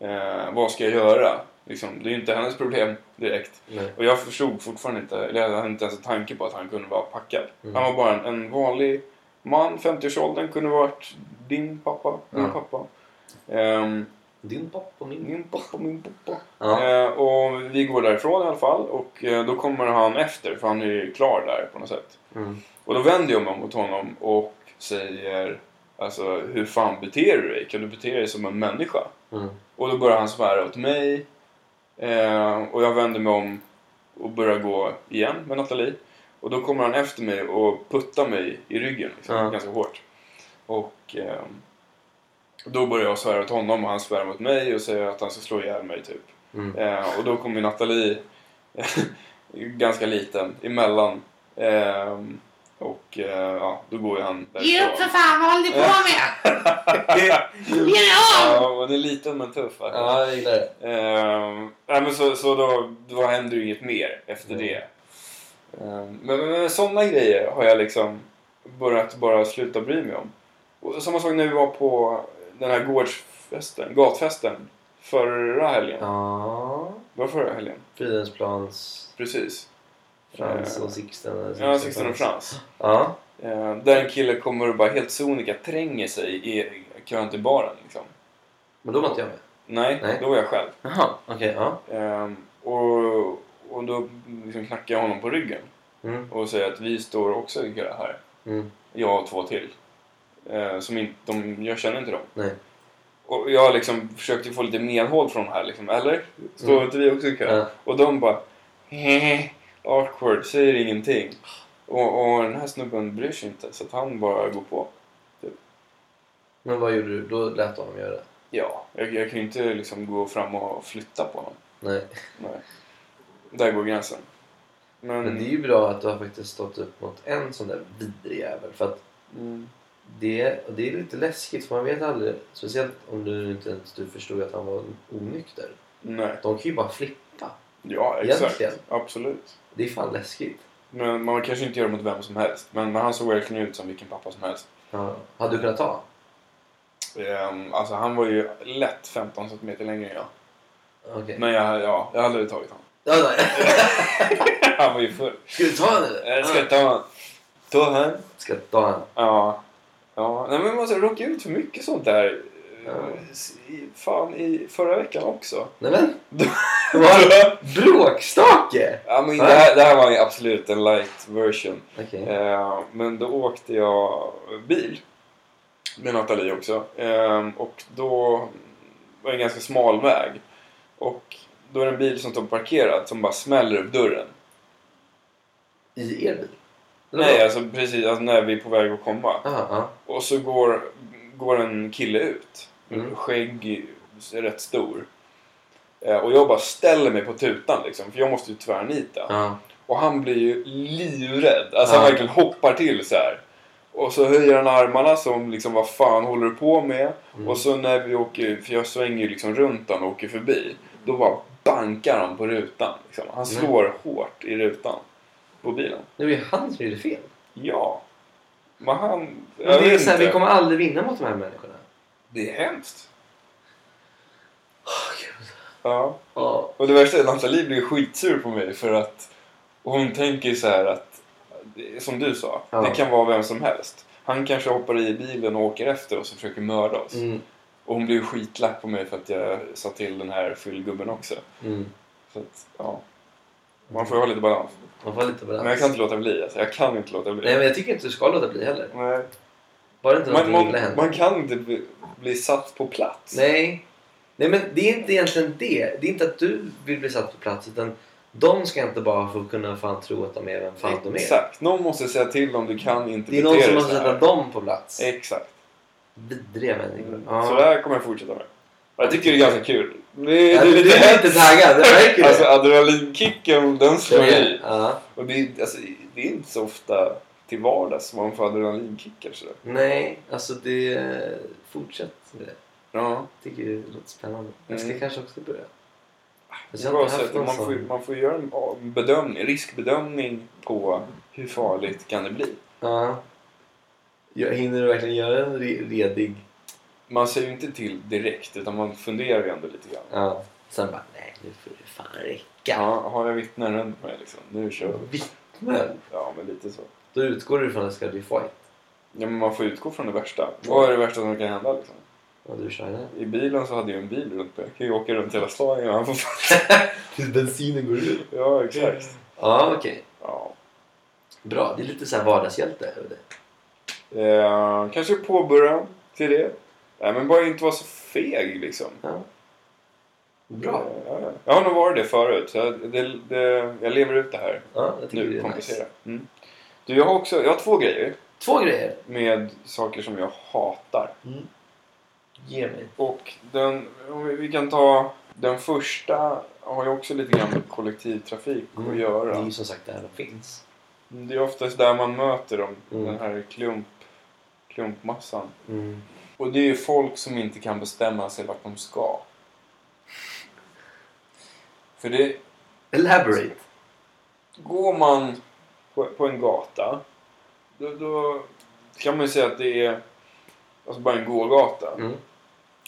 Speaker 1: Ehm, vad ska jag göra? Liksom, det är ju inte hennes problem direkt.
Speaker 2: Nej.
Speaker 1: Och jag förstod fortfarande inte, eller jag hade inte ens en tanke på att han kunde vara packad.
Speaker 2: Mm.
Speaker 1: Han var bara en, en vanlig man, 50-årsåldern, kunde varit din pappa, min
Speaker 2: Ja.
Speaker 1: pappa. Ehm,
Speaker 2: Din pappa och min.
Speaker 1: min pappa, min pappa.
Speaker 2: Ja.
Speaker 1: Eh, och vi går därifrån i alla fall och eh, då kommer han efter för han är ju klar där på något sätt.
Speaker 2: Mm.
Speaker 1: Och då vänder jag mig mot honom och säger alltså hur fan beter du dig? Kan du bete dig som en människa?
Speaker 2: Mm.
Speaker 1: Och då börjar han svära åt mig. Eh, och jag vänder mig om och börjar gå igen med Nathalie. Och då kommer han efter mig och puttar mig i ryggen liksom,
Speaker 2: Ja.
Speaker 1: ganska hårt. Och eh, då börjar jag svära åt honom och han svär mot mig och säger att han ska slå ihjäl mig typ.
Speaker 2: Mm.
Speaker 1: Eh, och då kommer ju Nathalie, ganska liten, emellan. Eh, och eh, ja, då går ju han
Speaker 3: Ge upp för fan, vad håller ni på med? Ge er av!
Speaker 1: Ja, och den är liten men tuff faktiskt.
Speaker 2: Ja, jag gillar det.
Speaker 1: Ehm, nej, men så, så då, då händer ju inget mer efter
Speaker 2: Mm.
Speaker 1: det. Ehm, men, men, men sådana grejer har jag liksom börjat bara sluta bry mig om. Och samma sak när vi var på den här gårdsfesten, gatfesten. Förra helgen.
Speaker 2: Ja.
Speaker 1: Det var förra helgen.
Speaker 2: Fridhemsplans
Speaker 1: Precis.
Speaker 2: Frans
Speaker 1: Eh,
Speaker 2: och Sixten. eller
Speaker 1: Ja, Sixten och Frans.
Speaker 2: Ja.
Speaker 1: Ehm, där en kille kommer och bara helt sonika tränger sig i kön till baren. Liksom.
Speaker 2: Men då var inte jag med.
Speaker 1: Nej,
Speaker 2: Nej.
Speaker 1: då var jag själv.
Speaker 2: Jaha. Okej, ja.
Speaker 1: Ehm, och, och då liksom knackar jag honom på ryggen.
Speaker 2: Mm.
Speaker 1: och säga att vi står också i kö här.
Speaker 2: Mm.
Speaker 1: Jag och två till. Eh, som inte, de, jag känner inte dem.
Speaker 2: Nej.
Speaker 1: Och jag liksom försökte få lite medhåll från de här liksom. Eller? Står
Speaker 2: Mm.
Speaker 1: inte vi också i kö?
Speaker 2: Ja.
Speaker 1: Och de bara "Hehe, awkward, säger ingenting. Och, och den här snubben bryr sig inte så att han bara går på.
Speaker 2: Men vad gjorde du? Då lät du honom göra det?
Speaker 1: Ja, jag, jag kan ju inte liksom gå fram och flytta på honom.
Speaker 2: Nej.
Speaker 1: Nej. Där går gränsen. Men...
Speaker 2: Men det är ju bra att du har faktiskt stått upp mot en sån där vidrig jävel. För att
Speaker 1: mm,
Speaker 2: det, och det är lite läskigt för man vet aldrig. Speciellt om du inte ens du förstod att han var onykter.
Speaker 1: nej.
Speaker 2: De kan ju bara flippa.
Speaker 1: Ja, exakt.
Speaker 2: Egentligen.
Speaker 1: Absolut.
Speaker 2: Det är fan läskigt.
Speaker 1: Men man kanske inte gör det mot vem som helst. Men, men han såg verkligen ut som vilken pappa som helst.
Speaker 2: Ja. Hade du kunnat ta?
Speaker 1: Ehm, alltså han var ju lätt 15 centimeter längre än jag.
Speaker 2: Okej.
Speaker 1: Men jag, ja, jag hade aldrig tagit honom.
Speaker 2: Ja, nej.
Speaker 1: Han var ju full.
Speaker 2: Ska du ta den eller?
Speaker 1: Jag ska ta honom. Ta honom?
Speaker 2: Ska jag ta den?
Speaker 1: Ja. Ja, nej men man alltså, råkar ut för mycket sånt där. eh,
Speaker 2: Ja.
Speaker 1: I, fan, i förra veckan också.
Speaker 2: Nej men! Vad? Bråkstake!
Speaker 1: ja, men det, här, det här var ju absolut en light version.
Speaker 2: Okej.
Speaker 1: Eh, men då åkte jag bil med Nathalie också. Eh, och då var det en ganska smal väg. Och då är det en bil som står parkerad som bara smäller upp dörren.
Speaker 2: I er bil? Eller
Speaker 1: Nej,
Speaker 2: vadå?
Speaker 1: alltså precis alltså, när vi är på väg att komma.
Speaker 2: Aha, ja.
Speaker 1: Och så går, går en kille ut.
Speaker 2: Mm.
Speaker 1: Skägg, är rätt stor. Eh, och jag bara ställer mig på tutan liksom, för jag måste ju tvärnita.
Speaker 2: ja.
Speaker 1: Och han blir ju livrädd. Alltså
Speaker 2: Ja.
Speaker 1: han verkligen hoppar till så här. Och så höjer han armarna som liksom vad fan håller du på med?
Speaker 2: Mm.
Speaker 1: Och så när vi åker, för jag svänger ju liksom runt honom och åker förbi. Då bara bankar han på rutan. Liksom. Han
Speaker 2: Mm.
Speaker 1: slår hårt i rutan på bilen.
Speaker 2: Det var ju han som gjorde fel.
Speaker 1: Ja. Men han...
Speaker 2: Men
Speaker 1: jag
Speaker 2: det är
Speaker 1: vet
Speaker 2: så här,
Speaker 1: inte.
Speaker 2: vi kommer aldrig vinna mot de här människorna.
Speaker 1: det är hemskt.
Speaker 2: Åh, gud.
Speaker 1: Ja.
Speaker 2: Ja.
Speaker 1: Och det värsta är att Nathalie blir skitsur på mig för att hon tänker så här att, som du sa,
Speaker 2: Ja.
Speaker 1: det kan vara vem som helst. Han kanske hoppar i bilen och åker efter oss och försöker mörda oss.
Speaker 2: Mm.
Speaker 1: Och hon blev skitlack på mig för att jag sa till den här fyllgubben också.
Speaker 2: Mm.
Speaker 1: Så att, ja. Man får ju ha lite balans.
Speaker 2: Man får lite balans.
Speaker 1: Men jag kan inte låta bli alltså. Jag kan inte låta
Speaker 2: Nej,
Speaker 1: bli.
Speaker 2: men jag tycker inte du ska låta bli heller.
Speaker 1: Nej.
Speaker 2: Var det inte något
Speaker 1: Man,
Speaker 2: som ville
Speaker 1: man,
Speaker 2: hända?
Speaker 1: man kan inte bli, bli satt på plats.
Speaker 2: Nej. Nej, men det är inte egentligen det. Det är inte att du vill bli satt på plats utan de ska inte bara få kunna fan tro att de är vem fan de är.
Speaker 1: Exakt. Någon måste säga till dem, du kan inte
Speaker 2: Det är
Speaker 1: bete
Speaker 2: någon
Speaker 1: dig
Speaker 2: som
Speaker 1: så
Speaker 2: måste
Speaker 1: här.
Speaker 2: sätta dem på plats.
Speaker 1: Exakt.
Speaker 2: Vidriga människor.
Speaker 1: Så
Speaker 2: Ja.
Speaker 1: det här kommer jag fortsätta med. Jag tycker det är ganska kul. Det
Speaker 2: Ja,
Speaker 1: är, det är
Speaker 2: Du du
Speaker 1: lite
Speaker 2: är lite
Speaker 1: hets.
Speaker 2: taggad, det märker
Speaker 1: Alltså
Speaker 2: du.
Speaker 1: adrenalinkicken, den slår i.
Speaker 2: Ja.
Speaker 1: Och det, är- alltså, det är inte så ofta till vardags man får adrenalinkickar sådär.
Speaker 2: Nej, alltså det... Fortsätt med det.
Speaker 1: Ja.
Speaker 2: Jag tycker det låter spännande. Jag ska
Speaker 1: Mm. Ah,
Speaker 2: kanske också börja. Fast
Speaker 1: Det
Speaker 2: Alltså, jag
Speaker 1: är bara
Speaker 2: har inte
Speaker 1: så
Speaker 2: haft
Speaker 1: att man,
Speaker 2: någon
Speaker 1: får,
Speaker 2: sån.
Speaker 1: man får göra en av- bedömning, riskbedömning på hur farligt kan det bli.
Speaker 2: Ja. Jag hinner du verkligen göra en re- redig...
Speaker 1: Man säger ju inte till direkt utan man funderar ju ändå lite grann.
Speaker 2: Ja. Sen bara, nej nu får det fan räcka.
Speaker 1: Ja, har jag vittnen runt mig liksom? Nu kör vi.
Speaker 2: Vittnen?
Speaker 1: Ja, men lite så.
Speaker 2: Då utgår du från att det ska bli fight.
Speaker 1: Ja, men man får utgå från det värsta. Vad är det värsta som kan hända liksom?
Speaker 2: Ja, du kör den.
Speaker 1: I bilen så hade jag en bil runt mig. Jag kan ju åka runt hela stan innan han får fatt.
Speaker 2: Tills bensinen går ut.
Speaker 1: Ja, exakt.
Speaker 2: Ja, okej.
Speaker 1: Ja.
Speaker 2: Bra. Det är lite så här vardagshjälte över det.
Speaker 1: Eh, kanske påbörja till det. Nej, men bara inte vara så feg liksom.
Speaker 2: Ja. Bra.
Speaker 1: Eh, ja, ja. jag har nog varit det förut. Så jag, det, det, jag lever ut det här
Speaker 2: Ja, jag tycker
Speaker 1: nu.
Speaker 2: det är nice.
Speaker 1: Kompensera. Mm. Du, jag har också... Jag har två grejer
Speaker 2: Två grejer.
Speaker 1: med saker som jag hatar.
Speaker 2: Ge mig.
Speaker 1: Och den, om vi, vi kan ta den första har ju också lite grann med kollektivtrafik
Speaker 2: Mm.
Speaker 1: att
Speaker 2: Det
Speaker 1: göra.
Speaker 2: är ju som sagt där de finns.
Speaker 1: Det är oftast där man möter dem,
Speaker 2: Mm.
Speaker 1: den här klump, klumpmassan.
Speaker 2: Mm.
Speaker 1: Och det är ju folk som inte kan bestämma sig vart de ska. För det,
Speaker 2: Elaborate.
Speaker 1: går man på, på en gata, då, då kan man ju säga att det är alltså bara en gågata.
Speaker 2: Mm.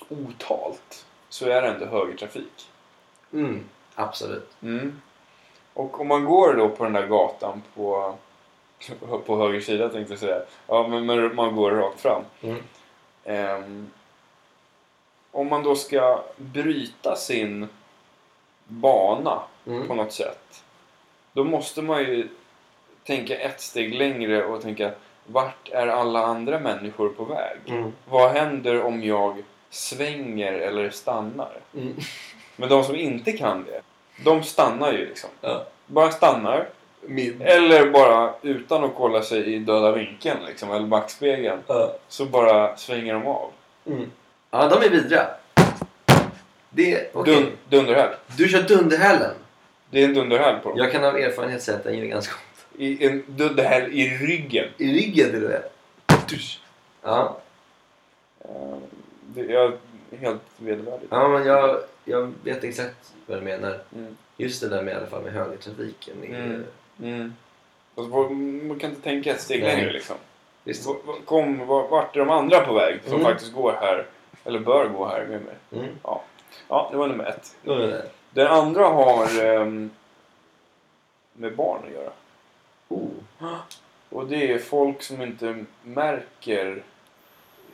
Speaker 1: Otalt så är det ändå högertrafik.
Speaker 2: Mm. Absolut.
Speaker 1: Mm. Och om man går då på den där gatan på, på höger sida tänkte jag säga. Ja, men, men man går rakt fram.
Speaker 2: Mm.
Speaker 1: Ehm, om man då ska bryta sin bana på
Speaker 2: Mm.
Speaker 1: något sätt. Då måste man ju tänka ett steg längre och tänka vart är alla andra människor på väg?
Speaker 2: Mm.
Speaker 1: Vad händer om jag svänger eller stannar?
Speaker 2: Mm.
Speaker 1: Men de som inte kan det, de stannar ju liksom.
Speaker 2: Ja.
Speaker 1: Bara stannar.
Speaker 2: Min.
Speaker 1: Eller bara utan att kolla sig i döda vinkeln liksom, eller backspegeln.
Speaker 2: Ja.
Speaker 1: Så bara svänger de av.
Speaker 2: Mm. Ja, de är vidriga. Det... Okej.
Speaker 1: Dun, dunderhäl.
Speaker 2: Du kör dunderhällen.
Speaker 1: Det är en dunderhäl på dem.
Speaker 2: Jag kan av erfarenhet säga att den ger ganska
Speaker 1: I, en dunderhäl i ryggen.
Speaker 2: I ryggen till och med. Ja,
Speaker 1: Eh, Det är helt vedervärdigt.
Speaker 2: ja men jag, jag vet exakt vad du menar.
Speaker 1: Mm.
Speaker 2: Just det där med i alla fall med högertrafiken. är ju-
Speaker 1: Mm. Mm. Alltså, vad- man kan inte tänka ett steg
Speaker 2: Nej.
Speaker 1: längre liksom.
Speaker 2: Visst.
Speaker 1: V- v- Kom, v- vart är de andra på väg som
Speaker 2: Mm.
Speaker 1: faktiskt går här? Eller bör gå här med mig?
Speaker 2: Mm.
Speaker 1: Ja, det var nummer ett.
Speaker 2: Jo, men det-
Speaker 1: Den andra har ehm, med barn att göra.
Speaker 2: Oh.
Speaker 1: Och det är folk som inte märker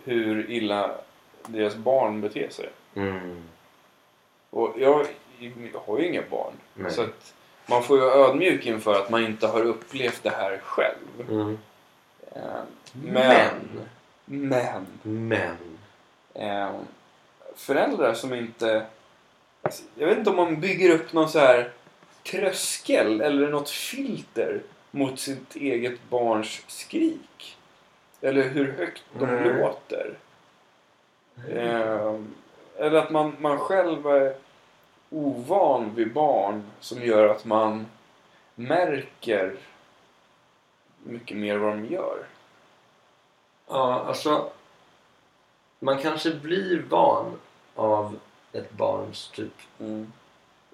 Speaker 1: hur illa deras barn beter sig.
Speaker 2: Mm.
Speaker 1: Och jag, jag har ju inga barn.
Speaker 2: Nej.
Speaker 1: Så att man får ju vara ödmjuk inför att man inte har upplevt det här själv.
Speaker 2: Mm.
Speaker 1: Ehm, men.
Speaker 2: Men.
Speaker 1: Men.
Speaker 2: Men.
Speaker 1: ehm, föräldrar som inte... Alltså, jag vet inte om man bygger upp någon så här tröskel eller något filter mot sitt eget barns skrik. Eller hur högt de
Speaker 2: Mm.
Speaker 1: låter. Ehm, eller att man, man själv är ovan vid barn som gör att man märker mycket mer vad de gör.
Speaker 2: Ja, alltså. Man kanske blir van av ett barns typ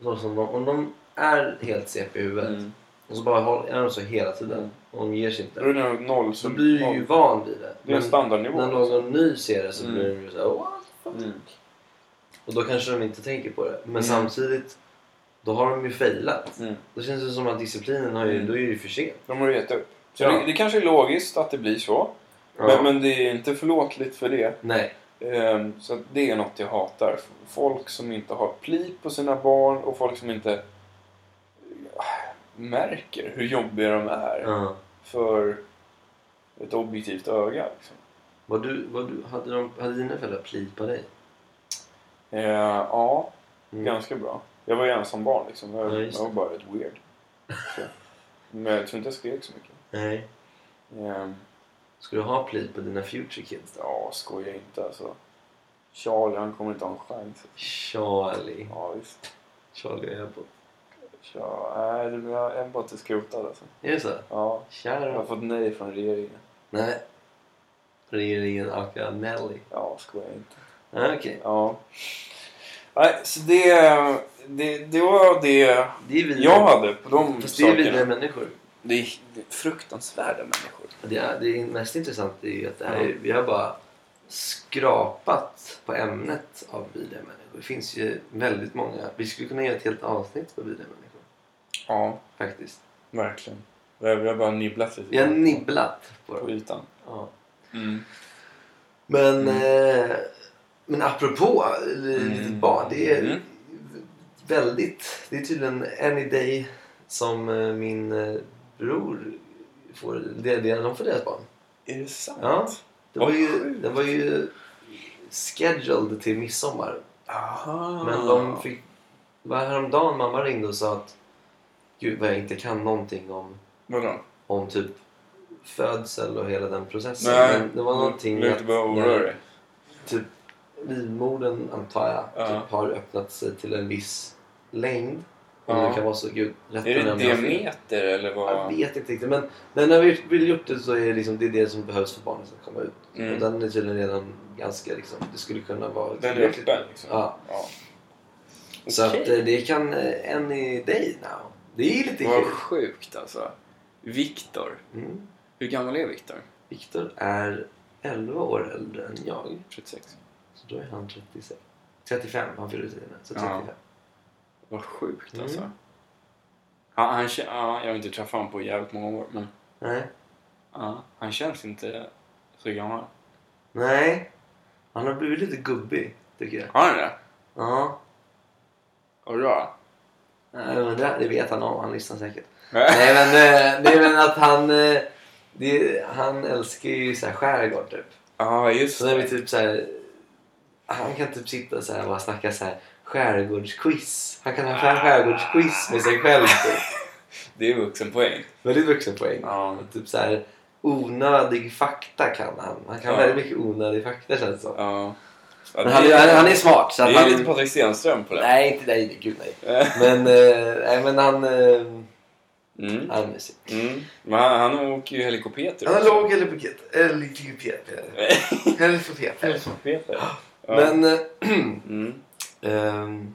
Speaker 2: Så som de, om de är helt CP i huvudet
Speaker 1: Mm.
Speaker 2: och så bara håller, är de så hela tiden
Speaker 1: Mm.
Speaker 2: och de ger sig inte.
Speaker 1: Då är det noll
Speaker 2: så
Speaker 1: så
Speaker 2: blir du ju van vid det.
Speaker 1: Det är en standardnivå.
Speaker 2: när någon ny ser det så
Speaker 1: Mm.
Speaker 2: blir de ju såhär what the fuck?
Speaker 1: Mm.
Speaker 2: Och då kanske de inte tänker på det. Men
Speaker 1: Mm.
Speaker 2: samtidigt, då har de ju failat.
Speaker 1: Mm.
Speaker 2: Då känns det som att disciplinen har ju,
Speaker 1: Mm.
Speaker 2: då är det ju för sent.
Speaker 1: De har ju gett upp. Så
Speaker 2: Ja.
Speaker 1: det, det kanske är logiskt att det blir så.
Speaker 2: Ja.
Speaker 1: Men, men det är inte förlåtligt för det.
Speaker 2: Nej.
Speaker 1: Ehm, så att det är något jag hatar. Folk som inte har pli på sina barn och folk som inte eh, märker hur jobbiga de är
Speaker 2: Ja.
Speaker 1: för ett objektivt öga. Liksom.
Speaker 2: Var du, var du, hade, de, hade dina föräldrar pli på dig?
Speaker 1: Eh, ja,
Speaker 2: Mm.
Speaker 1: ganska bra. Jag var ju ensam barn liksom. Jag,
Speaker 2: Ja, just
Speaker 1: jag var bara rätt weird. Så. Men jag tror inte jag skrek så mycket.
Speaker 2: Nej.
Speaker 1: Ehm,
Speaker 2: Ska du ha pli på dina future kids då?
Speaker 1: ja, skoja inte alltså. Charlie han kommer inte ha en chans.
Speaker 2: Charlie.
Speaker 1: Ja, visst.
Speaker 2: Charlie och Abbott.
Speaker 1: Ja, nej, det blir en båt är skrotad alltså.
Speaker 2: Är det så?
Speaker 1: Ja, jag har
Speaker 2: Kära.
Speaker 1: fått nej från regeringen.
Speaker 2: Nej. Regeringen aka Nelly.
Speaker 1: Ja, skoja inte.
Speaker 2: Ah, Okej.
Speaker 1: Ja. Nej, så det, det, det var det
Speaker 2: Det är vi.
Speaker 1: jag hade på de
Speaker 2: Fast det är
Speaker 1: sakerna.
Speaker 2: vidriga människor.
Speaker 1: Det är, det är fruktansvärda människor.
Speaker 2: Det, är, det är mest intressant är ju att det här, är- vi har bara skrapat på ämnet av vidriga människor. Det finns ju väldigt många. Vi skulle kunna göra ett helt avsnitt på vidriga människor.
Speaker 1: Ja,
Speaker 2: Faktiskt.
Speaker 1: verkligen. Vi har, vi har bara nibblat lite.
Speaker 2: Vi har nibblat på
Speaker 1: På
Speaker 2: dem.
Speaker 1: ytan.
Speaker 2: Ja.
Speaker 1: Mm.
Speaker 2: Men, eh, men apropå li-
Speaker 1: Mm.
Speaker 2: litet barn. Det är
Speaker 1: Mm.
Speaker 2: väldigt... Det är tydligen any day som eh, min eh, bror får, det, det, de får deras barn.
Speaker 1: Är det sant?
Speaker 2: Ja. Det
Speaker 1: Vad
Speaker 2: var ju,
Speaker 1: sjukt.
Speaker 2: det var ju scheduled till midsommar.
Speaker 1: Aha.
Speaker 2: Men de fick... det Var häromdagen mamma ringde och sa att Gud vad jag inte kan någonting om,
Speaker 1: Vadå?
Speaker 2: om typ födsel och hela den processen. Men det var någonting
Speaker 1: Du behöver inte behöva oroa dig.
Speaker 2: typ livmodern antar jag
Speaker 1: Ja.
Speaker 2: typ, har öppnat sig till en viss längd. Om
Speaker 1: Ja.
Speaker 2: det kan vara så. Gud, rätt
Speaker 1: Är det E?
Speaker 2: om jag har fel.
Speaker 1: diameter eller
Speaker 2: Jag
Speaker 1: vad?
Speaker 2: vet inte riktigt men men när vi vill gjort det så är det, liksom, det är det som behövs för barnet att komma ut.
Speaker 1: Mm.
Speaker 2: Och den är tydligen redan ganska liksom, det skulle kunna vara
Speaker 1: Den är
Speaker 2: tillräckligt.
Speaker 1: öppen liksom.
Speaker 2: Ja.
Speaker 1: Ja.
Speaker 2: Så att
Speaker 1: Okej.
Speaker 2: eh, det kan eh, any day now. Det är lite
Speaker 1: Vad
Speaker 2: kul.
Speaker 1: sjukt alltså. Viktor.
Speaker 2: Mm.
Speaker 1: Hur gammal är Viktor?
Speaker 2: Viktor är 11 år äldre än jag.
Speaker 1: 36.
Speaker 2: Så då är han 36. 35, han fyller tiden. Så
Speaker 1: Ja.
Speaker 2: 35.
Speaker 1: Vad sjukt
Speaker 2: Mm.
Speaker 1: alltså. Ja, han, kä- ja, jag har inte träffat honom på jävligt många år men
Speaker 2: Nej.
Speaker 1: ja, han känns inte så gammal.
Speaker 2: Nej. Han har blivit lite gubbig tycker jag.
Speaker 1: Har han det?
Speaker 2: Ja.
Speaker 1: Vad bra.
Speaker 2: Nej, men det, det vet han om. Han lyssnar säkert.
Speaker 1: Nej.
Speaker 2: Nej men eh, det är väl att han... eh, Det, han älskar ju så här skärgård typ.
Speaker 1: Ja, just
Speaker 2: Så när vi typ så här, Han kan typ sitta så här och bara snacka så här skärgårdsquiz. Han kan ha skär- skärgårdsquiz med sig själv typ.
Speaker 1: Det är vuxenpoäng.
Speaker 2: Väldigt vuxenpoäng.
Speaker 1: Ja.
Speaker 2: Och Typ så här onödig fakta kan han. Han kan
Speaker 1: Ja.
Speaker 2: väldigt mycket onödig fakta känns det som.
Speaker 1: Ja. Ja,
Speaker 2: Men han, är- han, han är smart så
Speaker 1: det
Speaker 2: att
Speaker 1: är
Speaker 2: han...
Speaker 1: lite Patrik Stenström på det.
Speaker 2: Nej, inte nej, gud nej. Men, eh, nej, men han... Eh,
Speaker 1: Mm.
Speaker 2: han är mysig.
Speaker 1: Mm. Men han, han åker ju helikopeter
Speaker 2: Han har
Speaker 1: också.
Speaker 2: låg elektropiet. Elektropiet. Elektropiet.
Speaker 1: Helikopeter. Ja.
Speaker 2: Men... Eh,
Speaker 1: Mm.
Speaker 2: ehm,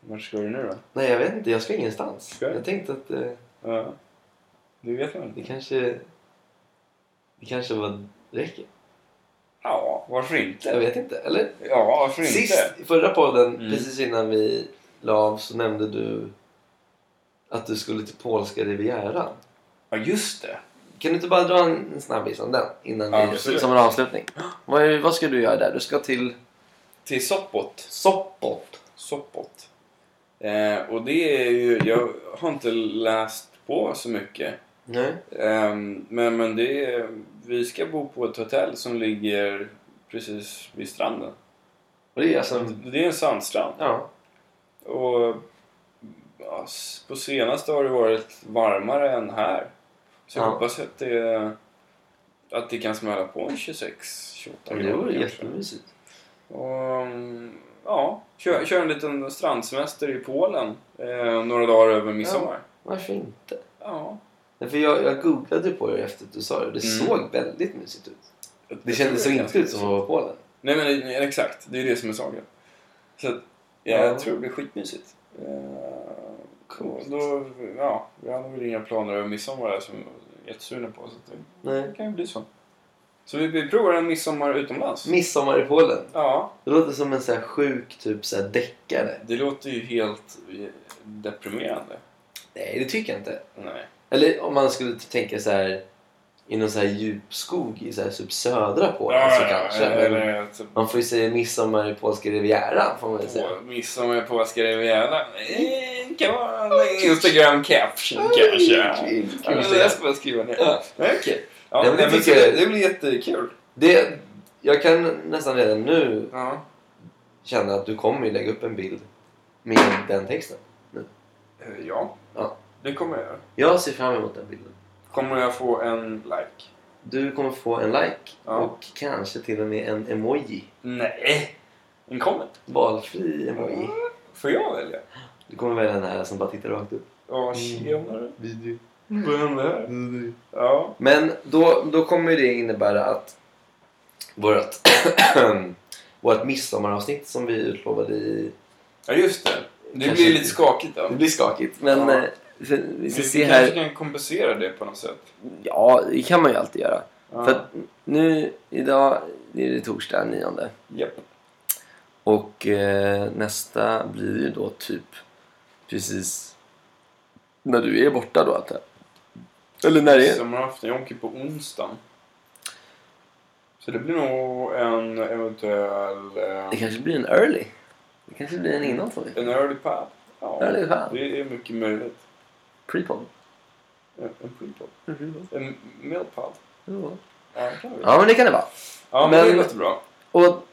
Speaker 1: Vart ska du nu då?
Speaker 2: nej, jag vet inte. Jag ska ingenstans.
Speaker 1: Ska du?
Speaker 2: Jag tänkte att... Eh,
Speaker 1: Ja. Du vet väl?
Speaker 2: Det kanske... Det kanske var... räcker.
Speaker 1: Ja, varför inte?
Speaker 2: Jag vet inte. Eller?
Speaker 1: Ja, varför inte?
Speaker 2: Sist, i förra podden,
Speaker 1: Mm.
Speaker 2: precis innan vi la av, så nämnde du att du skulle till polska rivieran.
Speaker 1: Ja, just det.
Speaker 2: Kan du inte bara dra en en snabbis om den innan vi,
Speaker 1: Absolut.
Speaker 2: som en avslutning? Vad, är, vad ska du göra där? Du ska till
Speaker 1: Till Sopot.
Speaker 2: Sopot.
Speaker 1: Sopot. Eh, och det är ju... Jag har inte läst på så mycket.
Speaker 2: Nej.
Speaker 1: Eh, men, men det är... Vi ska bo på ett hotell som ligger precis vid stranden.
Speaker 2: Och det är alltså...
Speaker 1: Det är en sandstrand.
Speaker 2: Ja.
Speaker 1: Och ja, s- på senaste har det varit varmare än här. Så jag
Speaker 2: Ja.
Speaker 1: hoppas att det, att det kan smälla på en 26-28 grader.
Speaker 2: Det vore
Speaker 1: kanske.
Speaker 2: jättemysigt.
Speaker 1: Och, mm, ja, kör, kör en liten strandsemester i Polen eh, några dagar över midsommar.
Speaker 2: Varför inte?
Speaker 1: Ja.
Speaker 2: Nej, För jag, jag googlade på det efter att du sa det. Det
Speaker 1: Mm.
Speaker 2: såg väldigt mysigt ut. Det
Speaker 1: Jag
Speaker 2: kändes så
Speaker 1: tror är ganska
Speaker 2: inte ut som att vara i Polen.
Speaker 1: Nej eh, men exakt, det är det som är saken. Så att, jag
Speaker 2: Ja.
Speaker 1: tror det blir skitmysigt. Eh, Och Då, ja, vi hade väl inga planer över midsommar där som vi var jättesugna på. Så att det,
Speaker 2: Nej.
Speaker 1: det kan ju bli så. Så vi, vi provar en midsommar utomlands.
Speaker 2: Midsommar i Polen.
Speaker 1: Ja,
Speaker 2: Det låter som en så här sjuk typ så här deckare.
Speaker 1: det låter ju helt eh, deprimerande.
Speaker 2: Nej, det tycker jag inte.
Speaker 1: Nej.
Speaker 2: Eller om man skulle typ tänka så här i någon så här djupskog i så här typ södra Polen så kanske. men
Speaker 1: Eller typ
Speaker 2: man får ju säga midsommar i polska rivieran får man väl säga.
Speaker 1: på midsommar på Polska rivieran. Eh, Kan vara en Instagram caption kanske.
Speaker 2: Kul,
Speaker 1: Ja,
Speaker 2: kul.
Speaker 1: men det ska jag skriva ner.
Speaker 2: Ja.
Speaker 1: Nej, Okej. Ja,
Speaker 2: Nej, men det
Speaker 1: nej, men så
Speaker 2: tycker jag-
Speaker 1: det, det blir jättekul.
Speaker 2: Det, jag kan nästan redan nu
Speaker 1: Ja.
Speaker 2: känna att du kommer ju lägga upp en bild med den texten.
Speaker 1: Eh, Ja.
Speaker 2: Ja.
Speaker 1: Det kommer jag göra.
Speaker 2: Jag ser fram emot den bilden.
Speaker 1: Kommer jag få en like?
Speaker 2: Du kommer få en like
Speaker 1: Ja.
Speaker 2: och kanske till och med en emoji.
Speaker 1: Nej! En comment.
Speaker 2: Valfri emoji.
Speaker 1: Får jag välja?
Speaker 2: Du kommer välja den här som bara tittar rakt upp.
Speaker 1: Ja, tjenare.
Speaker 2: Mm.
Speaker 1: Vad händer här? Ja.
Speaker 2: Men då, då kommer ju det innebära att vårt, vårt midsommaravsnitt som vi utlovade i...
Speaker 1: Ja, just det. Det
Speaker 2: Kanske-
Speaker 1: blir lite skakigt då.
Speaker 2: Det blir skakigt men
Speaker 1: Ja.
Speaker 2: eh, för- vi
Speaker 1: Vi,
Speaker 2: ska
Speaker 1: vi
Speaker 2: se
Speaker 1: kanske
Speaker 2: här.
Speaker 1: kan kompensera det på något sätt.
Speaker 2: Ja, det kan man ju alltid göra.
Speaker 1: Ja.
Speaker 2: För att nu, idag är det torsdag den nionde.
Speaker 1: Japp.
Speaker 2: Och eh, nästa blir ju då typ precis när du är borta då antar jag. Eller när det är.
Speaker 1: Midsommarafton. Jag åker på onsdagen. Så det blir nog en eventuell... eh,
Speaker 2: Det kanske blir en early. Det kanske blir en innan för dig.
Speaker 1: En early pad. Ja,
Speaker 2: Early pad.
Speaker 1: det är mycket möjligt.
Speaker 2: Prepod.
Speaker 1: En en pre-pod. En mealpad. Ja, det kan vi.
Speaker 2: Mm-hmm. Ja men det kan det vara.
Speaker 1: ja men,
Speaker 2: men-
Speaker 1: det låter bra.
Speaker 2: Och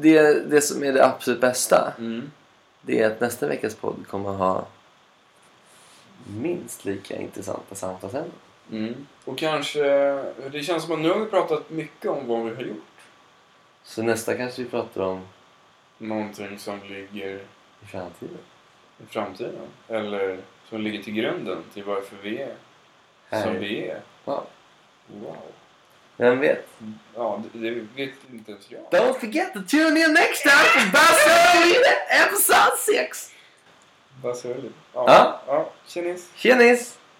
Speaker 2: det, det som är det absolut bästa
Speaker 1: Mm.
Speaker 2: det är att nästa veckas podd kommer ha minst lika intressanta samtalsämnen.
Speaker 1: Mm. Och kanske... Det känns som att nu har vi pratat mycket om vad vi har gjort.
Speaker 2: Så nästa kanske vi pratar om
Speaker 1: Någonting som ligger
Speaker 2: i framtiden.
Speaker 1: i framtiden. Eller som ligger till grunden till varför vi är som
Speaker 2: Här.
Speaker 1: vi är.
Speaker 2: Ja.
Speaker 1: Wow.
Speaker 2: Vem vet?
Speaker 1: Ja, det, det vet inte ens jag.
Speaker 2: Don't forget to tune in next time for Basse episode 6!
Speaker 1: Vad sorgligt. Ja.
Speaker 2: Ja.
Speaker 1: ja. Tjenis!
Speaker 2: Tjenis!